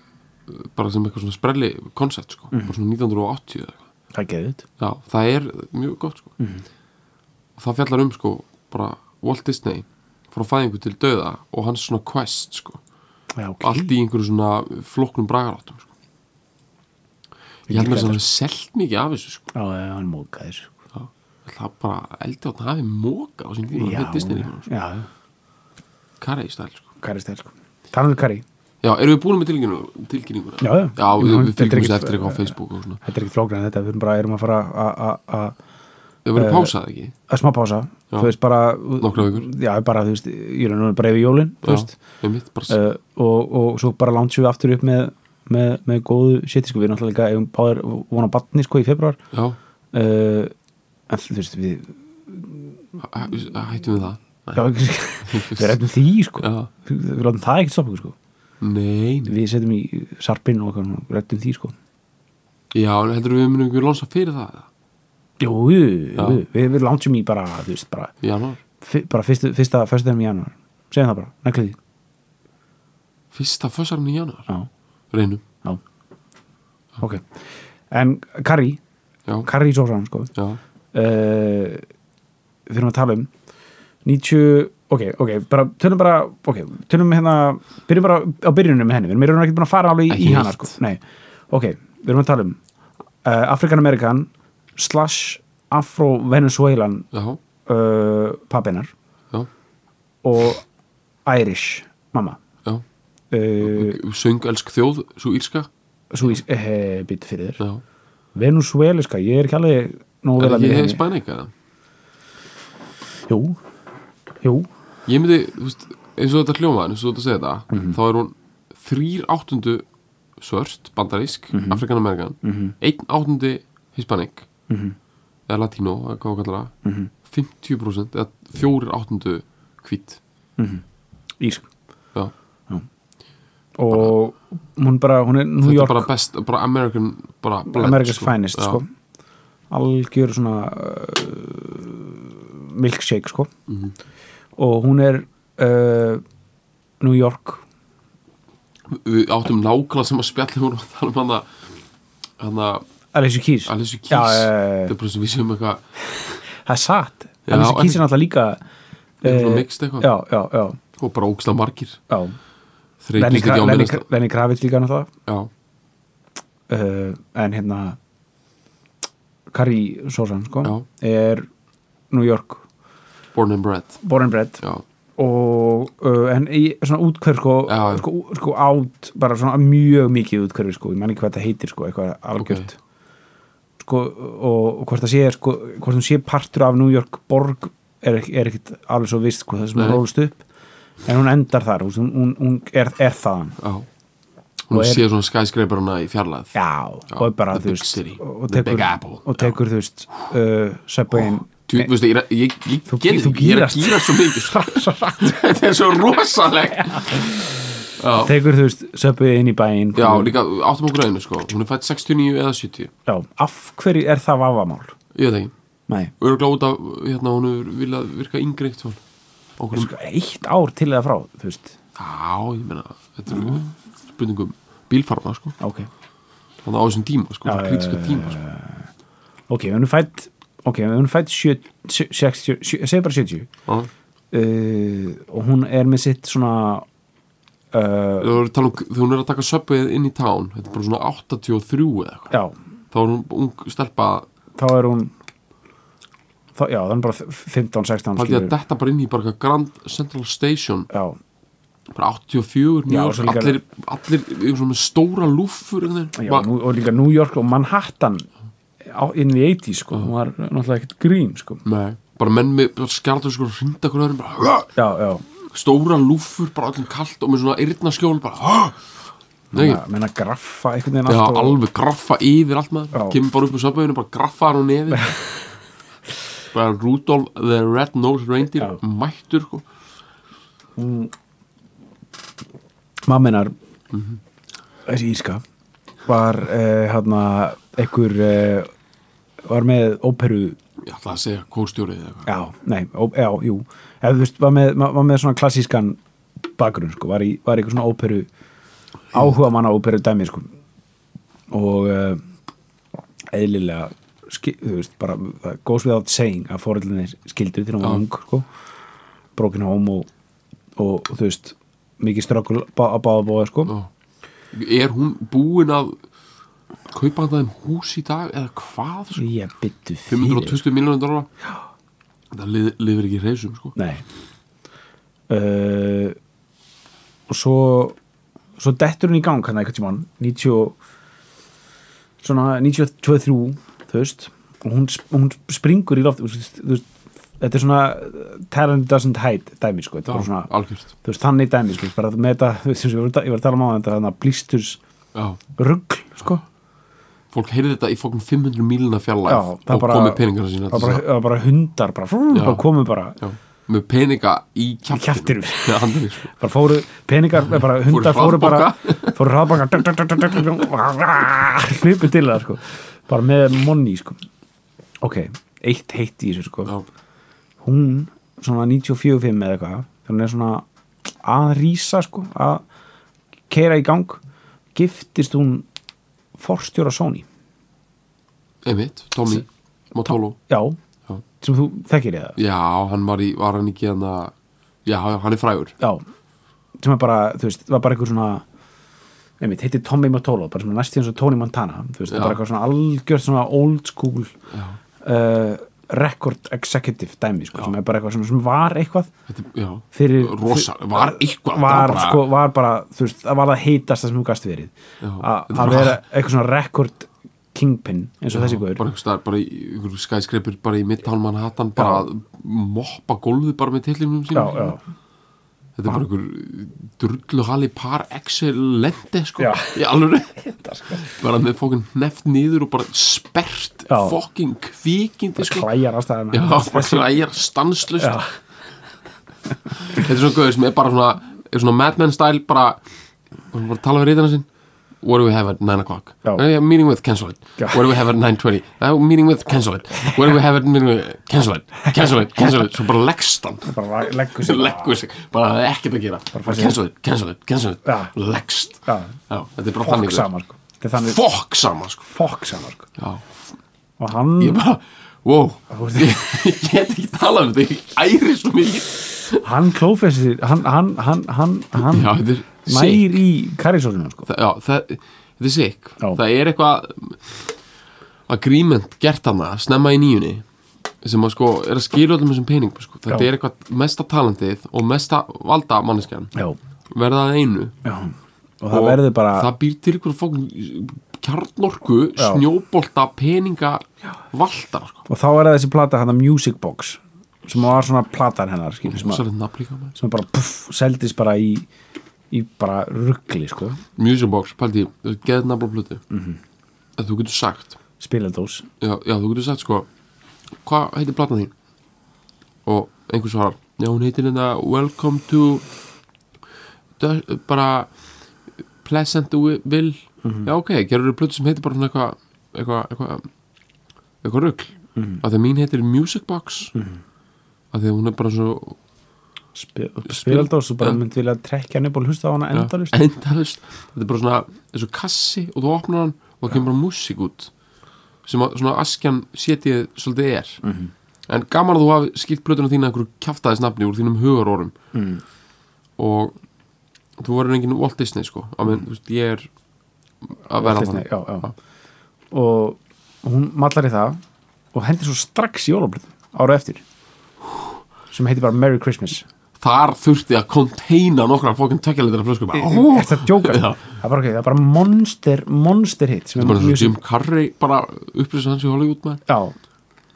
Speaker 2: bara sem eitthvað svona sprelli koncept, sko, bara svona 1980 eða eitthvað
Speaker 3: það getur þetta
Speaker 2: Já, það er mjög gott sko. og það fjallar um sko, bara Walt Disney frá fæðingu til döða og hans svona quest sko.
Speaker 3: já, ok,
Speaker 2: allt í einhverju svona flokknum bragaráttum sko. ég held mér að það er selt mikið af þessu sko.
Speaker 3: já, já, hann sko. mókaðir
Speaker 2: Já, það er bara eldi á það hafi móka á sín tíma
Speaker 3: já,
Speaker 2: með Disney sko.
Speaker 3: já,
Speaker 2: Kari í stæl sko.
Speaker 3: Kari Stæl sko talaðu Kari,
Speaker 2: Já, erum við búin með tilkynningu- tilkynninguna?
Speaker 3: Já, já.
Speaker 2: já
Speaker 3: Ég
Speaker 2: við,
Speaker 3: meina,
Speaker 2: við
Speaker 3: þetta er
Speaker 2: fylgjum
Speaker 3: ekki-
Speaker 2: þessu eftir eitthvað á Facebook og svona
Speaker 3: þetta er ekkert flóknar en þetta, við erum bara erum að fara að- að- að
Speaker 2: Það
Speaker 3: Eh,
Speaker 2: verður pásað ekki?
Speaker 3: að smá pása
Speaker 2: Já.
Speaker 3: þú veist bara
Speaker 2: Nokkrar vikur.
Speaker 3: já, bara þú veist, ég er nú bara yfir jólin þú
Speaker 2: Já,
Speaker 3: veist,
Speaker 2: einmitt, bara
Speaker 3: uh, og, og svo bara lántsum við aftur upp með, með, með góðu shit sko, við erum náttúrulega líka eigum báðir vona batni sko í februar uh,
Speaker 2: Já,
Speaker 3: en þú veist, við
Speaker 2: hæ- hæ- hættum við það
Speaker 3: já, við rættum því sko
Speaker 2: Já.
Speaker 3: við látum það ekkert stoppa okkur sko
Speaker 2: Nei, nei.
Speaker 3: við setjum í sarpinn og okkur, við rættum því sko
Speaker 2: Já, en heldur við munum ekki lónsa fyrir það eða?
Speaker 3: jú, jú,
Speaker 2: Já.
Speaker 3: jú, við, við lántsum í bara þú veist, bara,
Speaker 2: í janúar,
Speaker 3: fi- bara fyrsta, fyrsta föstudagum í januar, segjum það bara, neklið því
Speaker 2: fyrsta fössarinn í janúar
Speaker 3: já,
Speaker 2: reynum,
Speaker 3: já, ok en Kari,
Speaker 2: já,
Speaker 3: Kari Sósan sko
Speaker 2: já
Speaker 3: uh, við erum að tala um 90, ok, ok bara, tölum bara, ok, tölum hérna byrjum bara á byrjunum með henni, við erum- erum ekki búin að fara alveg í,
Speaker 2: Ekki
Speaker 3: í hana,
Speaker 2: neitt.
Speaker 3: sko Nei. ok, við erum að tala um uh, Afrikan Amerikan slash Afro-Venezuelan
Speaker 2: já,
Speaker 3: uh, pappinar
Speaker 2: já,
Speaker 3: og Irish mamma
Speaker 2: já
Speaker 3: uh,
Speaker 2: söng elsk þjóð, svo írska
Speaker 3: svo í eh, býtt fyrir þér
Speaker 2: já,
Speaker 3: Venezueliska, ég er ekki alveg nógu vel
Speaker 2: er
Speaker 3: að
Speaker 2: ekki
Speaker 3: mér
Speaker 2: hefði
Speaker 3: henni
Speaker 2: spæninga það
Speaker 3: Jú, jú,
Speaker 2: ég myndi, þú veist, eins og þetta hljóma eins og þetta segja þetta,
Speaker 3: Mhm.
Speaker 2: þá er hún þrýr áttundu svört bandarísk, mm
Speaker 3: Mhm.
Speaker 2: -hmm. afrikanamerikan mm -hmm. einn áttundi hispanik
Speaker 3: Mhm.
Speaker 2: eða latínó, eða hvað þú kallar það 50% eða fjórir áttundu hvít
Speaker 3: Írsk
Speaker 2: já,
Speaker 3: og hún bara, hún er New
Speaker 2: þetta
Speaker 3: York
Speaker 2: er bara best, bara American bara blend,
Speaker 3: America's
Speaker 2: sko.
Speaker 3: Finest
Speaker 2: já,
Speaker 3: sko. algjör svona uh, milkshake sko
Speaker 2: Mhm.
Speaker 3: og hún er uh, New York
Speaker 2: Við áttum nákvæmlega sem að spjalla hún og tala um hana hana
Speaker 3: Alessi Keys
Speaker 2: Alessi Keys
Speaker 3: Já, já, já.
Speaker 2: Það er bara sem við séum eitthvað
Speaker 3: það er satt
Speaker 2: Já,
Speaker 3: Alessi Keys er
Speaker 2: en-
Speaker 3: náttúrulega líka
Speaker 2: eitthvað
Speaker 3: eh,
Speaker 2: mixt eitthvað
Speaker 3: já, já, já,
Speaker 2: og bara ógstlega margir
Speaker 3: já. Lenny,
Speaker 2: þreikist
Speaker 3: Kra
Speaker 2: ekki á
Speaker 3: Lenny,
Speaker 2: minnast
Speaker 3: Kra- Lenny Kravitz líka náttúrulega
Speaker 2: já,
Speaker 3: uh, en hérna Kari Sosan sko,
Speaker 2: Já.
Speaker 3: er New York
Speaker 2: born and bred
Speaker 3: born and bred
Speaker 2: já,
Speaker 3: og uh, en í svona útkverf sko,
Speaker 2: Já, já.
Speaker 3: sko, ú- sko át bara svona mjög mikið útkverfi sko, ég man ekki hvað þetta heitir sko, eitthvað algjört sko, og, og hvort það sé sko, hvort hún sé partur af New York borg er, ekki- er ekkit alveg svo vist sko, það sem
Speaker 2: Nei.
Speaker 3: hún rólst upp en hún endar þar, hún, hún, hún er, er þaðan
Speaker 2: já hún
Speaker 3: Og er-
Speaker 2: sé svona skyscraperana í fjarlæð
Speaker 3: Já, og er bara,
Speaker 2: The
Speaker 3: þú
Speaker 2: Big
Speaker 3: veist
Speaker 2: City,
Speaker 3: og
Speaker 2: The
Speaker 3: tekur,
Speaker 2: Big Apple.
Speaker 3: og tekur þú veist uh,
Speaker 2: <laughs>
Speaker 3: Subwayn
Speaker 2: Þú
Speaker 3: Nei,
Speaker 2: veist, ég, er- ég, ég,
Speaker 3: Þú-
Speaker 2: gerði
Speaker 3: þú
Speaker 2: ekki, ég er að
Speaker 3: gírast.
Speaker 2: gýra svo mikið sko.
Speaker 3: <laughs>
Speaker 2: Þetta er svo rosaleg Já,
Speaker 3: tekur þú veist Subway inn í bæinn sko.
Speaker 2: já
Speaker 3: hún-
Speaker 2: líka áttum okkur einu sko Hún er fætt 69 eða 70
Speaker 3: já, af hverju er það vafamál?
Speaker 2: Ég veit ekki
Speaker 3: Nei,
Speaker 2: Og eru gláð út af, hérna, hún er viljað virka yngri eitt hún
Speaker 3: er
Speaker 2: Okkur um,
Speaker 3: sko eitt ár til eða frá þú veist,
Speaker 2: Já, ég meina, þetta er spurningum bílfarma sko
Speaker 3: ok
Speaker 2: Þannig á þessum tíma sko,
Speaker 3: Já,
Speaker 2: þessum krítiska tíma sko
Speaker 3: ok, ef hún er fætt ok, ef hún er fætt 70 60 sjö- segðu bara 70
Speaker 2: sko. Já.
Speaker 3: uh, og hún er með sitt svona uh,
Speaker 2: Þú voru að tala um, þegar hún er að taka söpvið inn í tán Þetta er bara svona 83 eða eitthvað
Speaker 3: já,
Speaker 2: Þá er hún ung stelpa
Speaker 3: þá er hún þá, já, það er bara
Speaker 2: Haldi
Speaker 3: 15-16
Speaker 2: að
Speaker 3: skilur.
Speaker 2: detta bara inn í bara eitthvað Grand Central Station
Speaker 3: já,
Speaker 2: bara 84
Speaker 3: Já,
Speaker 2: mjög,
Speaker 3: og svo líka-
Speaker 2: allir, allir yfir svona með stóra lúfur einhvern veginn.
Speaker 3: já,
Speaker 2: Ma-
Speaker 3: nú, og líka New York og Manhattan á, inn í 80 sko,
Speaker 2: Mhm.
Speaker 3: hún var náttúrulega ekkert grín sko.
Speaker 2: Nei, bara menn með bara skjaldur sko hrinda hverju öðrum bara,
Speaker 3: já, já,
Speaker 2: stóra lúfur bara öllum kalt og með svona yrna skjól bara "Hah!" Nei,
Speaker 3: já menna graffa einhvern veginn
Speaker 2: já,
Speaker 3: allt og-
Speaker 2: alveg graffa yfir allt
Speaker 3: Já.
Speaker 2: maður kemur bara upp úr söpöðinu, bara graffa hann og nefi
Speaker 3: <laughs>
Speaker 2: bara Rudolf the Red-Nosed Reindeer
Speaker 3: Já.
Speaker 2: mættur sko.
Speaker 3: mamma hennar þessi írska var uh, hérna einhver uh, var með óperu
Speaker 2: ég ætla að segja kórstjórið eða eitthvað
Speaker 3: já, nei, ó, já, jú eða þú veist, var með, ma- var með svona klassískan bakgrunn, sko, var í, var í einhver svona óperu áhuga manna óperu dæmi, sko og uh, eðlilega ski, þú veist, bara, það goes without saying að fóreldinni skildu til hún var
Speaker 2: Já.
Speaker 3: ung, sko broken home og, og, þú veist, mikið ströggul á báða bóða, sko
Speaker 2: Já. er hún búin að kaupa hann það um hús í dag eða hvað sko?
Speaker 3: Ég byttu fyrir
Speaker 2: 520 miljónum dólar það lið, lifir ekki í reysum sko.
Speaker 3: Nei uh, Og svo Svo dettur hún í gang hann eitthvað tímann 90 og- Svona 92-3 Þú veist Og hún, sp- hún springur í loft þú veist, þú veist, Þetta er svona uh, Talent doesn't hide dæmi sko Þetta er bara
Speaker 2: Já,
Speaker 3: svona
Speaker 2: algjört
Speaker 3: Þú veist, þannig dæmi sko Bara með þetta þú veist, eins og Ég var að- ég var að tala um á þetta Þannig blísturs
Speaker 2: Já.
Speaker 3: rugl sko
Speaker 2: fólk heyrði þetta í fólkum 500 miljóna fjarlæð
Speaker 3: Já, það
Speaker 2: og
Speaker 3: bara-
Speaker 2: komið peningana sína
Speaker 3: Það
Speaker 2: til
Speaker 3: bara,
Speaker 2: þess
Speaker 3: það bara hundar bara, frú,
Speaker 2: Já.
Speaker 3: bara komum bara
Speaker 2: að- Já, með peninga í
Speaker 3: kjaftinum.
Speaker 2: <laughs> kjaftinum Já, andri, sko.
Speaker 3: bara fóru peningar, eh, bara hundar fóru bara fóru hraðbaka hlupu til það sko bara með monni sko ok, eitt heitt í þessu sko
Speaker 2: Já,
Speaker 3: hún, svona 94-5 eða eitthvað þegar hún er svona að rísa sko, að keira í gang giftist hún forstjóra Sony
Speaker 2: einmitt, Tommy Motolo
Speaker 3: já,
Speaker 2: Já.
Speaker 3: sem þú þekkir ég það
Speaker 2: Já, hann var, í, var hann ekki hann Já, hann er frægur
Speaker 3: já, sem er bara, þú veist, var bara einhver svona einmitt, heitir Tommy Motolo bara svona næstíðan svo Tony Montana þú veist,
Speaker 2: Já.
Speaker 3: bara eitthvað svona algjörð svona old school uh, record executive dæmi, sko, sem er bara eitthvað svona sem var eitthvað
Speaker 2: Þetta, Já,
Speaker 3: fyrir
Speaker 2: rosa, var eitthvað
Speaker 3: var,
Speaker 2: það bara-
Speaker 3: sko, var bara, þú veist, það var það heitast sem hún gast verið
Speaker 2: Já.
Speaker 3: A-
Speaker 2: Þetta
Speaker 3: að
Speaker 2: var-
Speaker 3: vera eitthvað svona record kingpin eins og þessi
Speaker 2: bara
Speaker 3: guður
Speaker 2: einhvers staðar, bara í ykkur skæskreipur bara í Midtown Manhattan bara að moppa gólfið bara með tillinum
Speaker 3: já,
Speaker 2: sínum
Speaker 3: já,
Speaker 2: Þetta er bara einhver drullu hali par excellente sko,
Speaker 3: Já. sko-
Speaker 2: í
Speaker 3: <laughs>
Speaker 2: alvöru bara með fokkin hneft niður og bara sperrt
Speaker 3: Já.
Speaker 2: fokkin kvikindi sko.
Speaker 3: klæjar ástæðan
Speaker 2: Já, bara klæjar stanslust
Speaker 3: Já.
Speaker 2: Þetta er svona gauður sem er bara svona, er svona madman style bara, bara tala við reyðina sinn what do we have at 9 o'clock
Speaker 3: Já.
Speaker 2: Uh, yeah, meeting with, cancel it
Speaker 3: Já.
Speaker 2: what do we have at 9.20 uh, meeting with, cancel it what do we have at meeting with, cancel it cancel it, cancel it, svo bara leggst hann
Speaker 3: bara leggur
Speaker 2: sem
Speaker 3: sér
Speaker 2: leggur sig, bara það er ekkert að gera bara cancel it, cancel it, cancel it
Speaker 3: Já.
Speaker 2: leggst,
Speaker 3: Já.
Speaker 2: þetta er bara
Speaker 3: fokk
Speaker 2: þannig
Speaker 3: saman sko þetta er þannig
Speaker 2: fokk sama sko.
Speaker 3: fokk saman sko
Speaker 2: Já.
Speaker 3: og hann
Speaker 2: ég bara, wow ég, <laughs> ég get ekki talað um þetta, ég æri svo mikið
Speaker 3: hann klófessi hann, hann, hann, hann, hann
Speaker 2: já, þetta er sick
Speaker 3: nær í karisósunum sko
Speaker 2: Þa- já, það, þetta er sick
Speaker 3: Já.
Speaker 2: það er eitthvað agreement gert hana, snemma í nýjunni sem að sko, er að skilja öllum þessum peningum sko. þetta
Speaker 3: Já.
Speaker 2: er eitthvað mesta talendið og mesta valda manneskjan
Speaker 3: já,
Speaker 2: verða að einu
Speaker 3: já og það verður bara
Speaker 2: það býr til ykkur fókn kjarnorku,
Speaker 3: Já.
Speaker 2: snjóbolta peninga, valda sko.
Speaker 3: og þá er það þessi plata hann Music Box sem var svona platan hennar skilur, sem, að,
Speaker 2: Svolítið nafn líka, maður.
Speaker 3: sem bara puff, seldist bara í, í bara ruggli sko
Speaker 2: Music Box, pældi, þú getur nafn á plötu
Speaker 3: Mhm.
Speaker 2: að þú getur sagt
Speaker 3: spilaldós
Speaker 2: já, já, þú getur sagt sko hvað heitir platan þín og einhver svarar, já hún heitir þetta Welcome to Dö- bara Pleasantville já ok, gerur þú plötu sem heitir bara svona eitthvað eitthvað eitthvað eitthvað rugl, mm -hmm. að því að mín heitir Music Box mm -hmm. að því að hún er bara svo
Speaker 3: Spil, spilaldós og bara
Speaker 2: Já.
Speaker 3: myndi vilja trekja hann upp og hlusta á hana endalust
Speaker 2: endalust þetta er bara svona, þessu kassi og þú opnar hann og það kemur bara músík út sem að svona askjan setið svolítið er
Speaker 3: Mhm.
Speaker 2: -hmm. en gaman að þú hafi skipt plötuna þína einhverju kjaftaðis nafni úr þínum hugarórum mm.
Speaker 3: Mhm.
Speaker 2: og þú verður enginn Walt Disney sko að menn, þú veist, ég er að vera
Speaker 3: Mhm. Disney,
Speaker 2: þannig.
Speaker 3: já, já. og hún mallar í það og hendur svo strax jólablið ára eftir sem heitir bara Merry Christmas
Speaker 2: þar þurfti að konteina nokkra fókin tökjaleitra flöskum bara, ó,
Speaker 3: er það djóka
Speaker 2: Já.
Speaker 3: sko? það er bara, ok, það er bara monster, monster hit sem
Speaker 2: þetta er
Speaker 3: er
Speaker 2: bara svo
Speaker 3: music,
Speaker 2: Jim Carrey bara upplýsa hans í Hollywood maður
Speaker 3: já,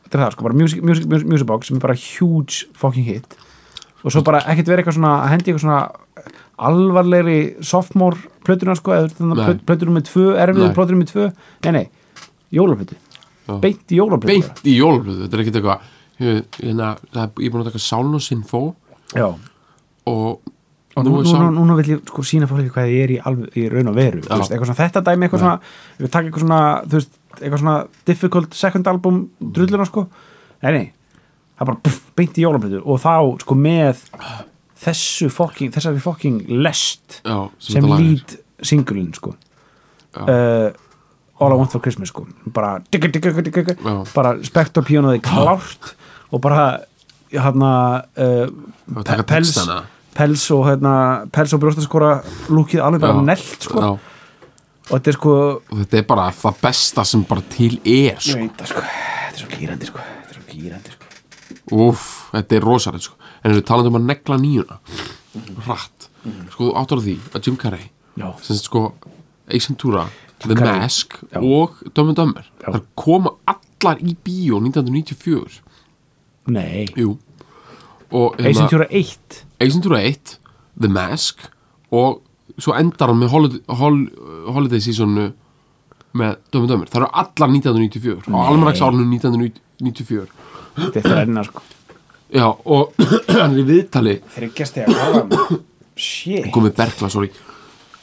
Speaker 3: þetta er það sko bara music, music, music, music box sem er bara huge fucking hit og svo bara ekkert verið eitthvað svona að hendi eitthvað svona alvarlegri sophomore plötuna sko eða
Speaker 2: Nei.
Speaker 3: þannig plötuna með tvö, erfiðu
Speaker 2: Nei.
Speaker 3: plötuna með tvö nei, nei, jólaplötu
Speaker 2: Já.
Speaker 3: beint í jólaplötu
Speaker 2: beint í jólblöðu þetta er ekkert eitthvað ég, hérna, það er- ég er búin að taka Sáln og Sinfó
Speaker 3: já
Speaker 2: og,
Speaker 3: og nú,
Speaker 2: nú er
Speaker 3: núna,
Speaker 2: Sáln
Speaker 3: núna vil ég sko sína fólki hvað ég er í, alveg, í raun og veru þú veist, eitthvað svona þetta dæmi, eitthvað svona við taka eitthvað svona, þú veist, eitthvað svona difficult second album
Speaker 2: Mm.
Speaker 3: drulluna sko nei, nei, það er bara puff, beint í jólabröðu og þá sko með þessu fokking, þessari fokking lest
Speaker 2: já,
Speaker 3: sem
Speaker 2: þetta lag er.
Speaker 3: lít singulinn sko uh, All I Want For Christmas sko bara digga, digga, digga, digga,
Speaker 2: Já.
Speaker 3: bara spektorpíónuði klárt og bara hérna uh,
Speaker 2: Og taka
Speaker 3: pe- pels,
Speaker 2: textana.
Speaker 3: pels og hérna, pels og brjóstaskora lúkið alveg bara
Speaker 2: Já.
Speaker 3: nellt sko
Speaker 2: já,
Speaker 3: og þetta er sko,
Speaker 2: og þetta er bara það besta sem bara til er
Speaker 3: ég
Speaker 2: sko.
Speaker 3: veit það sko þetta er svo gýrandi sko, þetta er svo gýrandi sko
Speaker 2: Úf, þetta er rosalega sko. en við talandi um að negla nýjuna hratt,
Speaker 3: Mhm.
Speaker 2: sko þú áttur á því að Jim Carrey,
Speaker 3: Já.
Speaker 2: sem sagt, sko Ace Ventura, The
Speaker 3: Carrey.
Speaker 2: Mask
Speaker 3: Já.
Speaker 2: og Dumb and Dumber
Speaker 3: Já.
Speaker 2: þar koma allar í bíó 1994
Speaker 3: Nei,
Speaker 2: jú og hérna-
Speaker 3: Ace Ventura 1
Speaker 2: Eisendur 1, The Mask og svo endar hann með Holiday, hol, holiday Seasonu með Dömur Dömur það eru allar 1994 á almanaks árunum 1994
Speaker 3: þetta er þrenna sko
Speaker 2: já og <clears throat> hann er í viðtali
Speaker 3: þryggjast þegar ára shit
Speaker 2: komið Berkla, sorry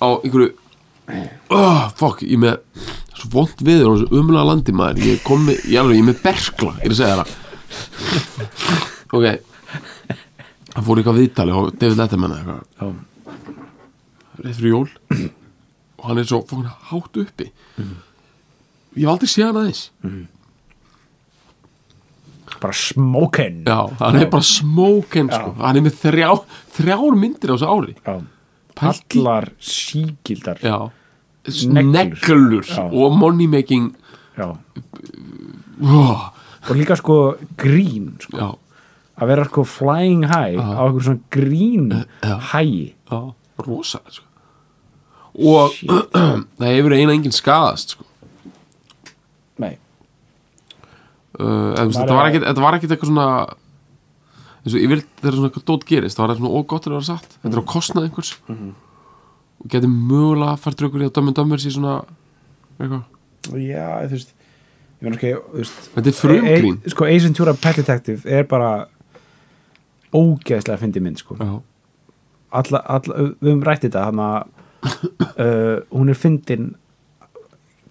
Speaker 2: á einhverju oh, fuck, ég er með svo vond viður á þessu umlega landi maður ég er komið, ég, alveg, ég er með Berkla ég er að segja það ok hann fór í eitthvað viðtali og David Letterman eða eitthvað
Speaker 3: Já.
Speaker 2: rétt fyrir jól og hann er svo fókn hátt uppi ég hef aldrei séð hann aðeins
Speaker 3: bara smokin
Speaker 2: já, hann er bara smóken sko. hann er með þrjá, þrjár myndir á þessu ári
Speaker 3: Já.
Speaker 2: Pældi-
Speaker 3: allar síkildar
Speaker 2: já,
Speaker 3: Neglur.
Speaker 2: neglur
Speaker 3: Já.
Speaker 2: og money making
Speaker 3: Já.
Speaker 2: oh,
Speaker 3: og líka sko grín sko.
Speaker 2: já,
Speaker 3: að vera sko flying high á einhver svona grín
Speaker 2: já.
Speaker 3: hægi
Speaker 2: já, rosa sko. og <clears throat> það hefur eina enginn skadast sko.
Speaker 3: nei,
Speaker 2: uh, eða, þú veist,
Speaker 3: Bara-
Speaker 2: þetta, var ekkit, þetta var ekkit eitthvað svona eins og ég vil þegar svona eitthvað dót gerist það var eitthvað svona ógott að vera satt þetta er
Speaker 3: Mhm.
Speaker 2: á kostnað einhvers og geti mögulega fært raukur í að dömur dömur sér svona eitthvað
Speaker 3: já, þú veist ég meina sko, þú veist
Speaker 2: þetta er frumgrín
Speaker 3: e, e, sko Ace Ventura Pet Detective er bara ógeðslega fyndi mynd sko
Speaker 2: já, <coughs>
Speaker 3: alla, alla, við höfum rætt þetta hann að uh, hún er fyndin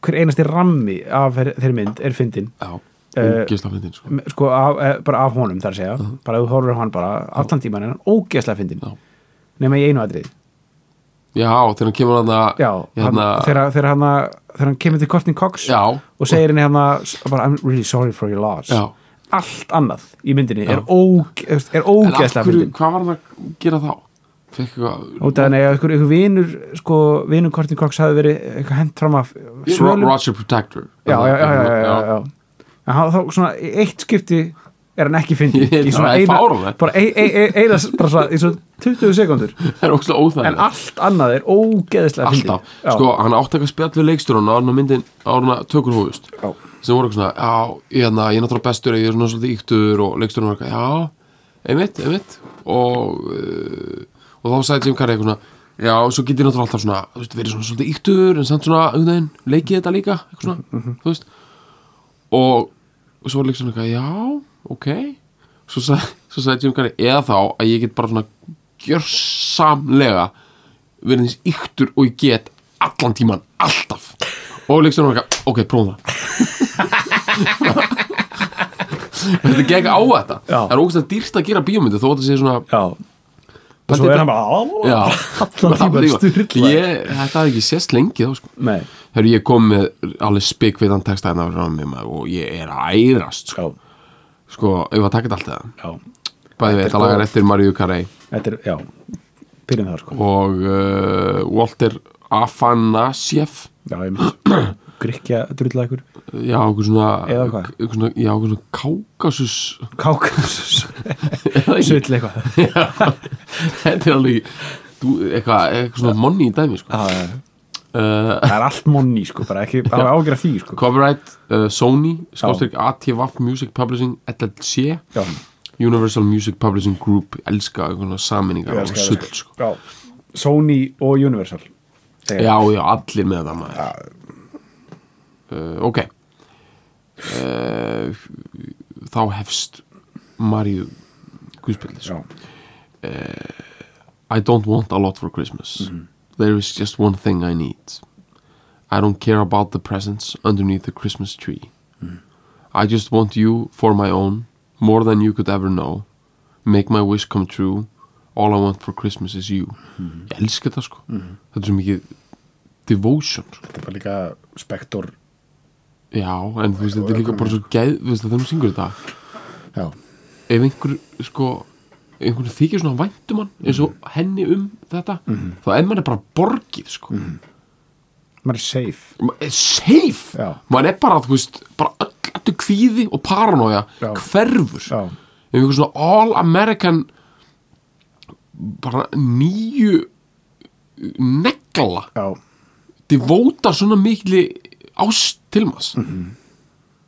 Speaker 3: hver einasti rammi af þeir- þeirri mynd er fyndin
Speaker 2: já,
Speaker 3: Eh,
Speaker 2: ógeðslega fyndin sko.
Speaker 3: Me- sko, af, eh, bara af honum þar að segja bara ef þú horfir á hann bara allan tíman er hann ógeðslega fyndin
Speaker 2: Uh-huh. Já.
Speaker 3: nema í einu atrið
Speaker 2: já, þegar hann kemur hann að
Speaker 3: já, hann, þegar, þegar, hann, þegar hann kemur til Courtney Cox
Speaker 2: hérna- já,
Speaker 3: og segir henni hann bara I'm really sorry for your loss
Speaker 2: Já.
Speaker 3: allt annað í myndinni
Speaker 2: Já.
Speaker 3: er, óge, er
Speaker 2: en af
Speaker 3: ógeðslega
Speaker 2: hverju,
Speaker 3: fyndin
Speaker 2: hvað var hann að gera þá? fekk eitthvað
Speaker 3: út af henni að einhver, einhver vinur sko, vinur Courtney Cox hafi verið eitthvað hent fram af
Speaker 2: Ro-
Speaker 3: svölum já,
Speaker 2: Roger Protector
Speaker 3: já, já, já, já, já, já. En hann, þá svona í eitt skipti er hann ekki
Speaker 2: <laughs>
Speaker 3: fyndin
Speaker 2: <laughs> Ég-
Speaker 3: í svona
Speaker 2: það er
Speaker 3: eina-
Speaker 2: fáránlegt.
Speaker 3: bara ein- ein- ein- eina bara svona í svona 20 sekundur
Speaker 2: það er ógeðslega
Speaker 3: en
Speaker 2: óþægilegt
Speaker 3: allt annað er ógeðslega fyndin
Speaker 2: alltaf, sko, hann átti eitthvað spjall við leikstjórun áður en að myndin, áður en að tökur hóðust
Speaker 3: Já.
Speaker 2: sem voru eitthvað svona, já, ég, na, ég er náttúrulega bestur ég er svona svolítið íktur og leikstjórun var eitthvað já, einmitt, einmitt og, uh, og þá sagði Jim Carrey eitthvað svona, já, svo get ég náttúrulega alltaf svona, þú veist, verið svona svolítið íktur en samt svona, einhvern veginn, leikið þetta líka eitthvað svona, þú veist og, og svo var leikstjórun eitthvað, já, ok svo sagði, svo sagði Jim Carrey, eða þá að ég get bara svona gjörsamlega verið eins yktur og ég get allan tíman, alltaf og leikstjórnum var eitthvað, ok, prófum það <laughs> þetta gekk á þetta
Speaker 3: Já.
Speaker 2: það er ógæslega dýrt að gera bíómyndu þó að þetta sé svona
Speaker 3: já og svo er hann bara
Speaker 2: Já.
Speaker 3: allan tíma styrla
Speaker 2: Ég- þetta hafði ekki sést lengi þá sko
Speaker 3: nei,
Speaker 2: Hörru, ég kom með alveg spikveitan texta hérna frá mér maður og ég er að ærast sko,
Speaker 3: já,
Speaker 2: sko ef að taka þetta allt það
Speaker 3: já
Speaker 2: Bæði við,
Speaker 3: Þetta er
Speaker 2: þetta lagar
Speaker 3: góð.
Speaker 2: eftir Maríu Carey
Speaker 3: þetta er, já, byrjum það sko
Speaker 2: og uh, Walter Afanasieff
Speaker 3: já, ég
Speaker 2: <clears throat>
Speaker 3: mynd, grikja drulla ykkur
Speaker 2: Já, okkur svona
Speaker 3: Eða hvað?
Speaker 2: Okkur svona, já, okkur svona Kákasus
Speaker 3: kákasus,
Speaker 2: Eða ekki? <laughs>
Speaker 3: sull eitthvað
Speaker 2: Þetta er alveg þú, eitthvað, eitthvað svona money í dæmi sko.
Speaker 3: Já, já, já.
Speaker 2: uh,
Speaker 3: það er allt monni sko, bara ekki, það er ágjör af því sko
Speaker 2: Copyright uh, Sony Skástrík ATVAF Music Publishing LLC
Speaker 3: já,
Speaker 2: Universal Music Publishing Group Ég Elska eitthvað svona
Speaker 3: Ég
Speaker 2: saminningar og
Speaker 3: elska það,
Speaker 2: sull sko.
Speaker 3: já Sony og Universal Þegar-
Speaker 2: Já, já, allir með það maður uh, Ok uh, Þá hefst Maríu Guðspillis
Speaker 3: já,
Speaker 2: I don't want a lot for Christmas.
Speaker 3: Mhm.
Speaker 2: There is just one thing I need. I don't care about the presents underneath the Christmas tree.
Speaker 3: Mhm.
Speaker 2: I just want you for my own, more than you could ever know. Make my wish come true. All I want for Christmas is you.
Speaker 3: Mhm.
Speaker 2: Ég elska þetta sko. Þetta er svo mikið devotion. Sko.
Speaker 3: þetta er bara líka Spector
Speaker 2: Já, en þú veist, þetta er líka bara svo geð, þú veist, þegar hún syngur þetta.
Speaker 3: já,
Speaker 2: ef einhver sko einhvern þykir svona væntum hann eins og
Speaker 3: Mhm.
Speaker 2: henni um þetta þá er mann bara borgið sko
Speaker 3: Mhm.
Speaker 2: mm
Speaker 3: maður er safe
Speaker 2: er safe,
Speaker 3: Já.
Speaker 2: maður er bara þú veist, bara öll, öllu kvíði og paranoja
Speaker 3: Já.
Speaker 2: hverfur
Speaker 3: já,
Speaker 2: ef einhver svona all American bara nýju negla
Speaker 3: já,
Speaker 2: devótar svona mikli ást til maður
Speaker 3: Mhm.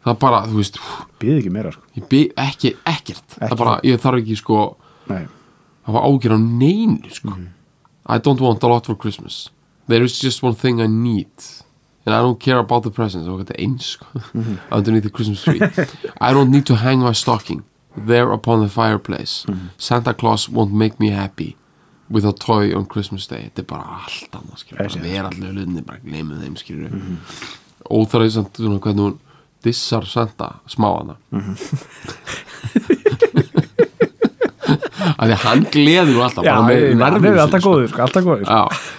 Speaker 2: það er bara, þú veist
Speaker 3: býð ekki meira sko
Speaker 2: ég byrð ekki, ekkert það er
Speaker 3: Ekki.
Speaker 2: bara, ég þarf ekki sko
Speaker 3: nei,
Speaker 2: hafa ágjör á neinu sko. I don't want a lot for Christmas there is just one thing I need and I don't care about the presents og þetta er eins sko.
Speaker 3: Mhm.
Speaker 2: underneath the Christmas tree I don't need to hang my stocking there upon the fireplace
Speaker 3: Mhm.
Speaker 2: Santa Claus won't make me happy with a toy on Christmas day þetta er bara allt annað skilur bara
Speaker 3: Þessi. Mhm.
Speaker 2: vera allir hlutinni, bara gleymið þeim skilur mm -hmm. óþarið samt svona, hvernig hún dissar Santa smáana mm
Speaker 3: Mhm.
Speaker 2: -hmm. að því hann gleður nú alltaf
Speaker 3: já,
Speaker 2: bara með
Speaker 3: ég- hann
Speaker 2: nervum
Speaker 3: er
Speaker 2: sínum,
Speaker 3: alltaf
Speaker 2: sko.
Speaker 3: góður sko, alltaf góður sko.
Speaker 2: Já.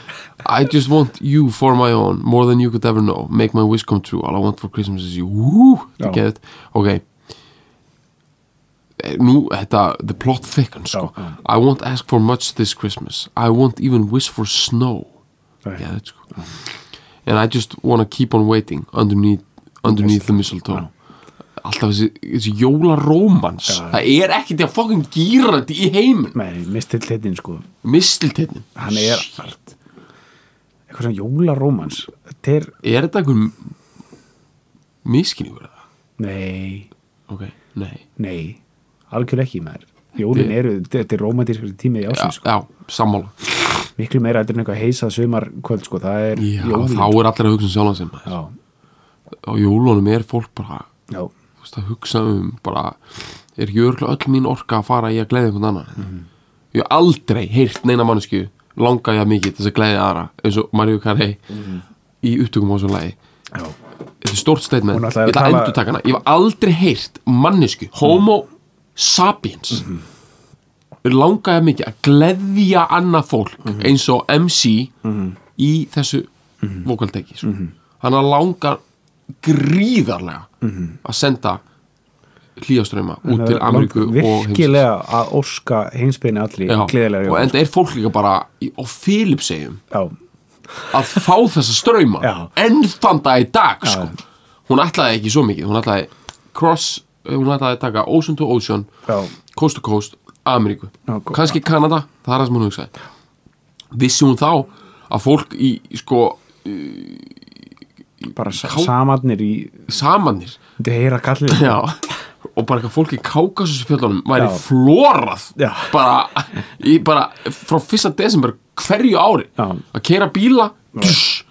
Speaker 2: I just want you for my own More than you could ever know Make my wish come true All I want for Christmas is you Woo,
Speaker 3: Já.
Speaker 2: get it Ok Eh, Nú, þetta, the plot thickens sko.
Speaker 3: Já, já.
Speaker 2: I won't ask for much this Christmas I won't even wish for snow
Speaker 3: Nei.
Speaker 2: get it, sko. And I just wanna keep on waiting Underneath, underneath the mistletoe Alltaf þessi, þessi jólarómans
Speaker 3: Já, já.
Speaker 2: Það er ekki til að fucking gýra þetta í heiminn
Speaker 3: nei, mistill hittin sko
Speaker 2: Mistilteinn
Speaker 3: Hann er- eitthvað svona jólarómans þetta er,
Speaker 2: er þetta einhver miskinningur eða?
Speaker 3: nei,
Speaker 2: Ok, nei
Speaker 3: nei algjörlega ekki maður jólin
Speaker 2: Ég-
Speaker 3: eru, þetta er romantískar tími í
Speaker 2: Já,
Speaker 3: ásins sko.
Speaker 2: já sammála
Speaker 3: miklu meira þetta er eitthvað heisað sumar kvöld sko, það er
Speaker 2: Já,
Speaker 3: jólin
Speaker 2: þá er allir að hugsa um sjálfan sem
Speaker 3: já,
Speaker 2: Á jólunum er fólk bara
Speaker 3: já,
Speaker 2: þú veist, að hugsa um bara er ekki örgulega öll mín orka að fara í að gleyða einhvern annan Ég hef aldrei heyrt neina mannesku langa ég mikið til þess að gleyða aðra eins og Maríu Carey í upptökum á þessu lagi
Speaker 3: Já.
Speaker 2: þetta er stórt statement,
Speaker 3: Hún
Speaker 2: ég
Speaker 3: ætlaði
Speaker 2: ætla
Speaker 3: að
Speaker 2: að
Speaker 3: tala- Mhm.
Speaker 2: endur taka hana ég hef aldrei heyrt mannesku homo sapiens mm langa ég mikið að gleðja annað fólk
Speaker 3: Mhm.
Speaker 2: eins og MC í þessu mm
Speaker 3: Mhm.
Speaker 2: -hmm. vokalteki mm -hmm. hann að langar gríðarlega
Speaker 3: Mhm.
Speaker 2: að senda hlýjaströma út til Ameríku og heimsins.
Speaker 3: virkilega að óska heimsbyrni allir
Speaker 2: Já,
Speaker 3: gleðilega
Speaker 2: og
Speaker 3: jól.
Speaker 2: enda er fólk líka bara í- á Filipsegjum
Speaker 3: já,
Speaker 2: að fá þessa ströma
Speaker 3: Já.
Speaker 2: enn þann dag í dag sko. hún ætlaði ekki svo mikið hún ætlaði cross eh, hún ætlaði að taka ocean to ocean
Speaker 3: Já.
Speaker 2: coast to coast, Ameríku
Speaker 3: Já, gó-
Speaker 2: kannski Kanada, það er það sem hún hugsaði vissi hún þá að fólk í sko
Speaker 3: bara sa
Speaker 2: Ká-
Speaker 3: samarnir í
Speaker 2: samannir
Speaker 3: þetta heyra kallir
Speaker 2: <laughs> Já. og bara eitthvað fólk í Kákasusfjöldunum væri
Speaker 3: Já.
Speaker 2: flórað
Speaker 3: Já.
Speaker 2: bara, í, bara frá fyrsta desember hverju ári
Speaker 3: Já.
Speaker 2: að keira bíla dusch,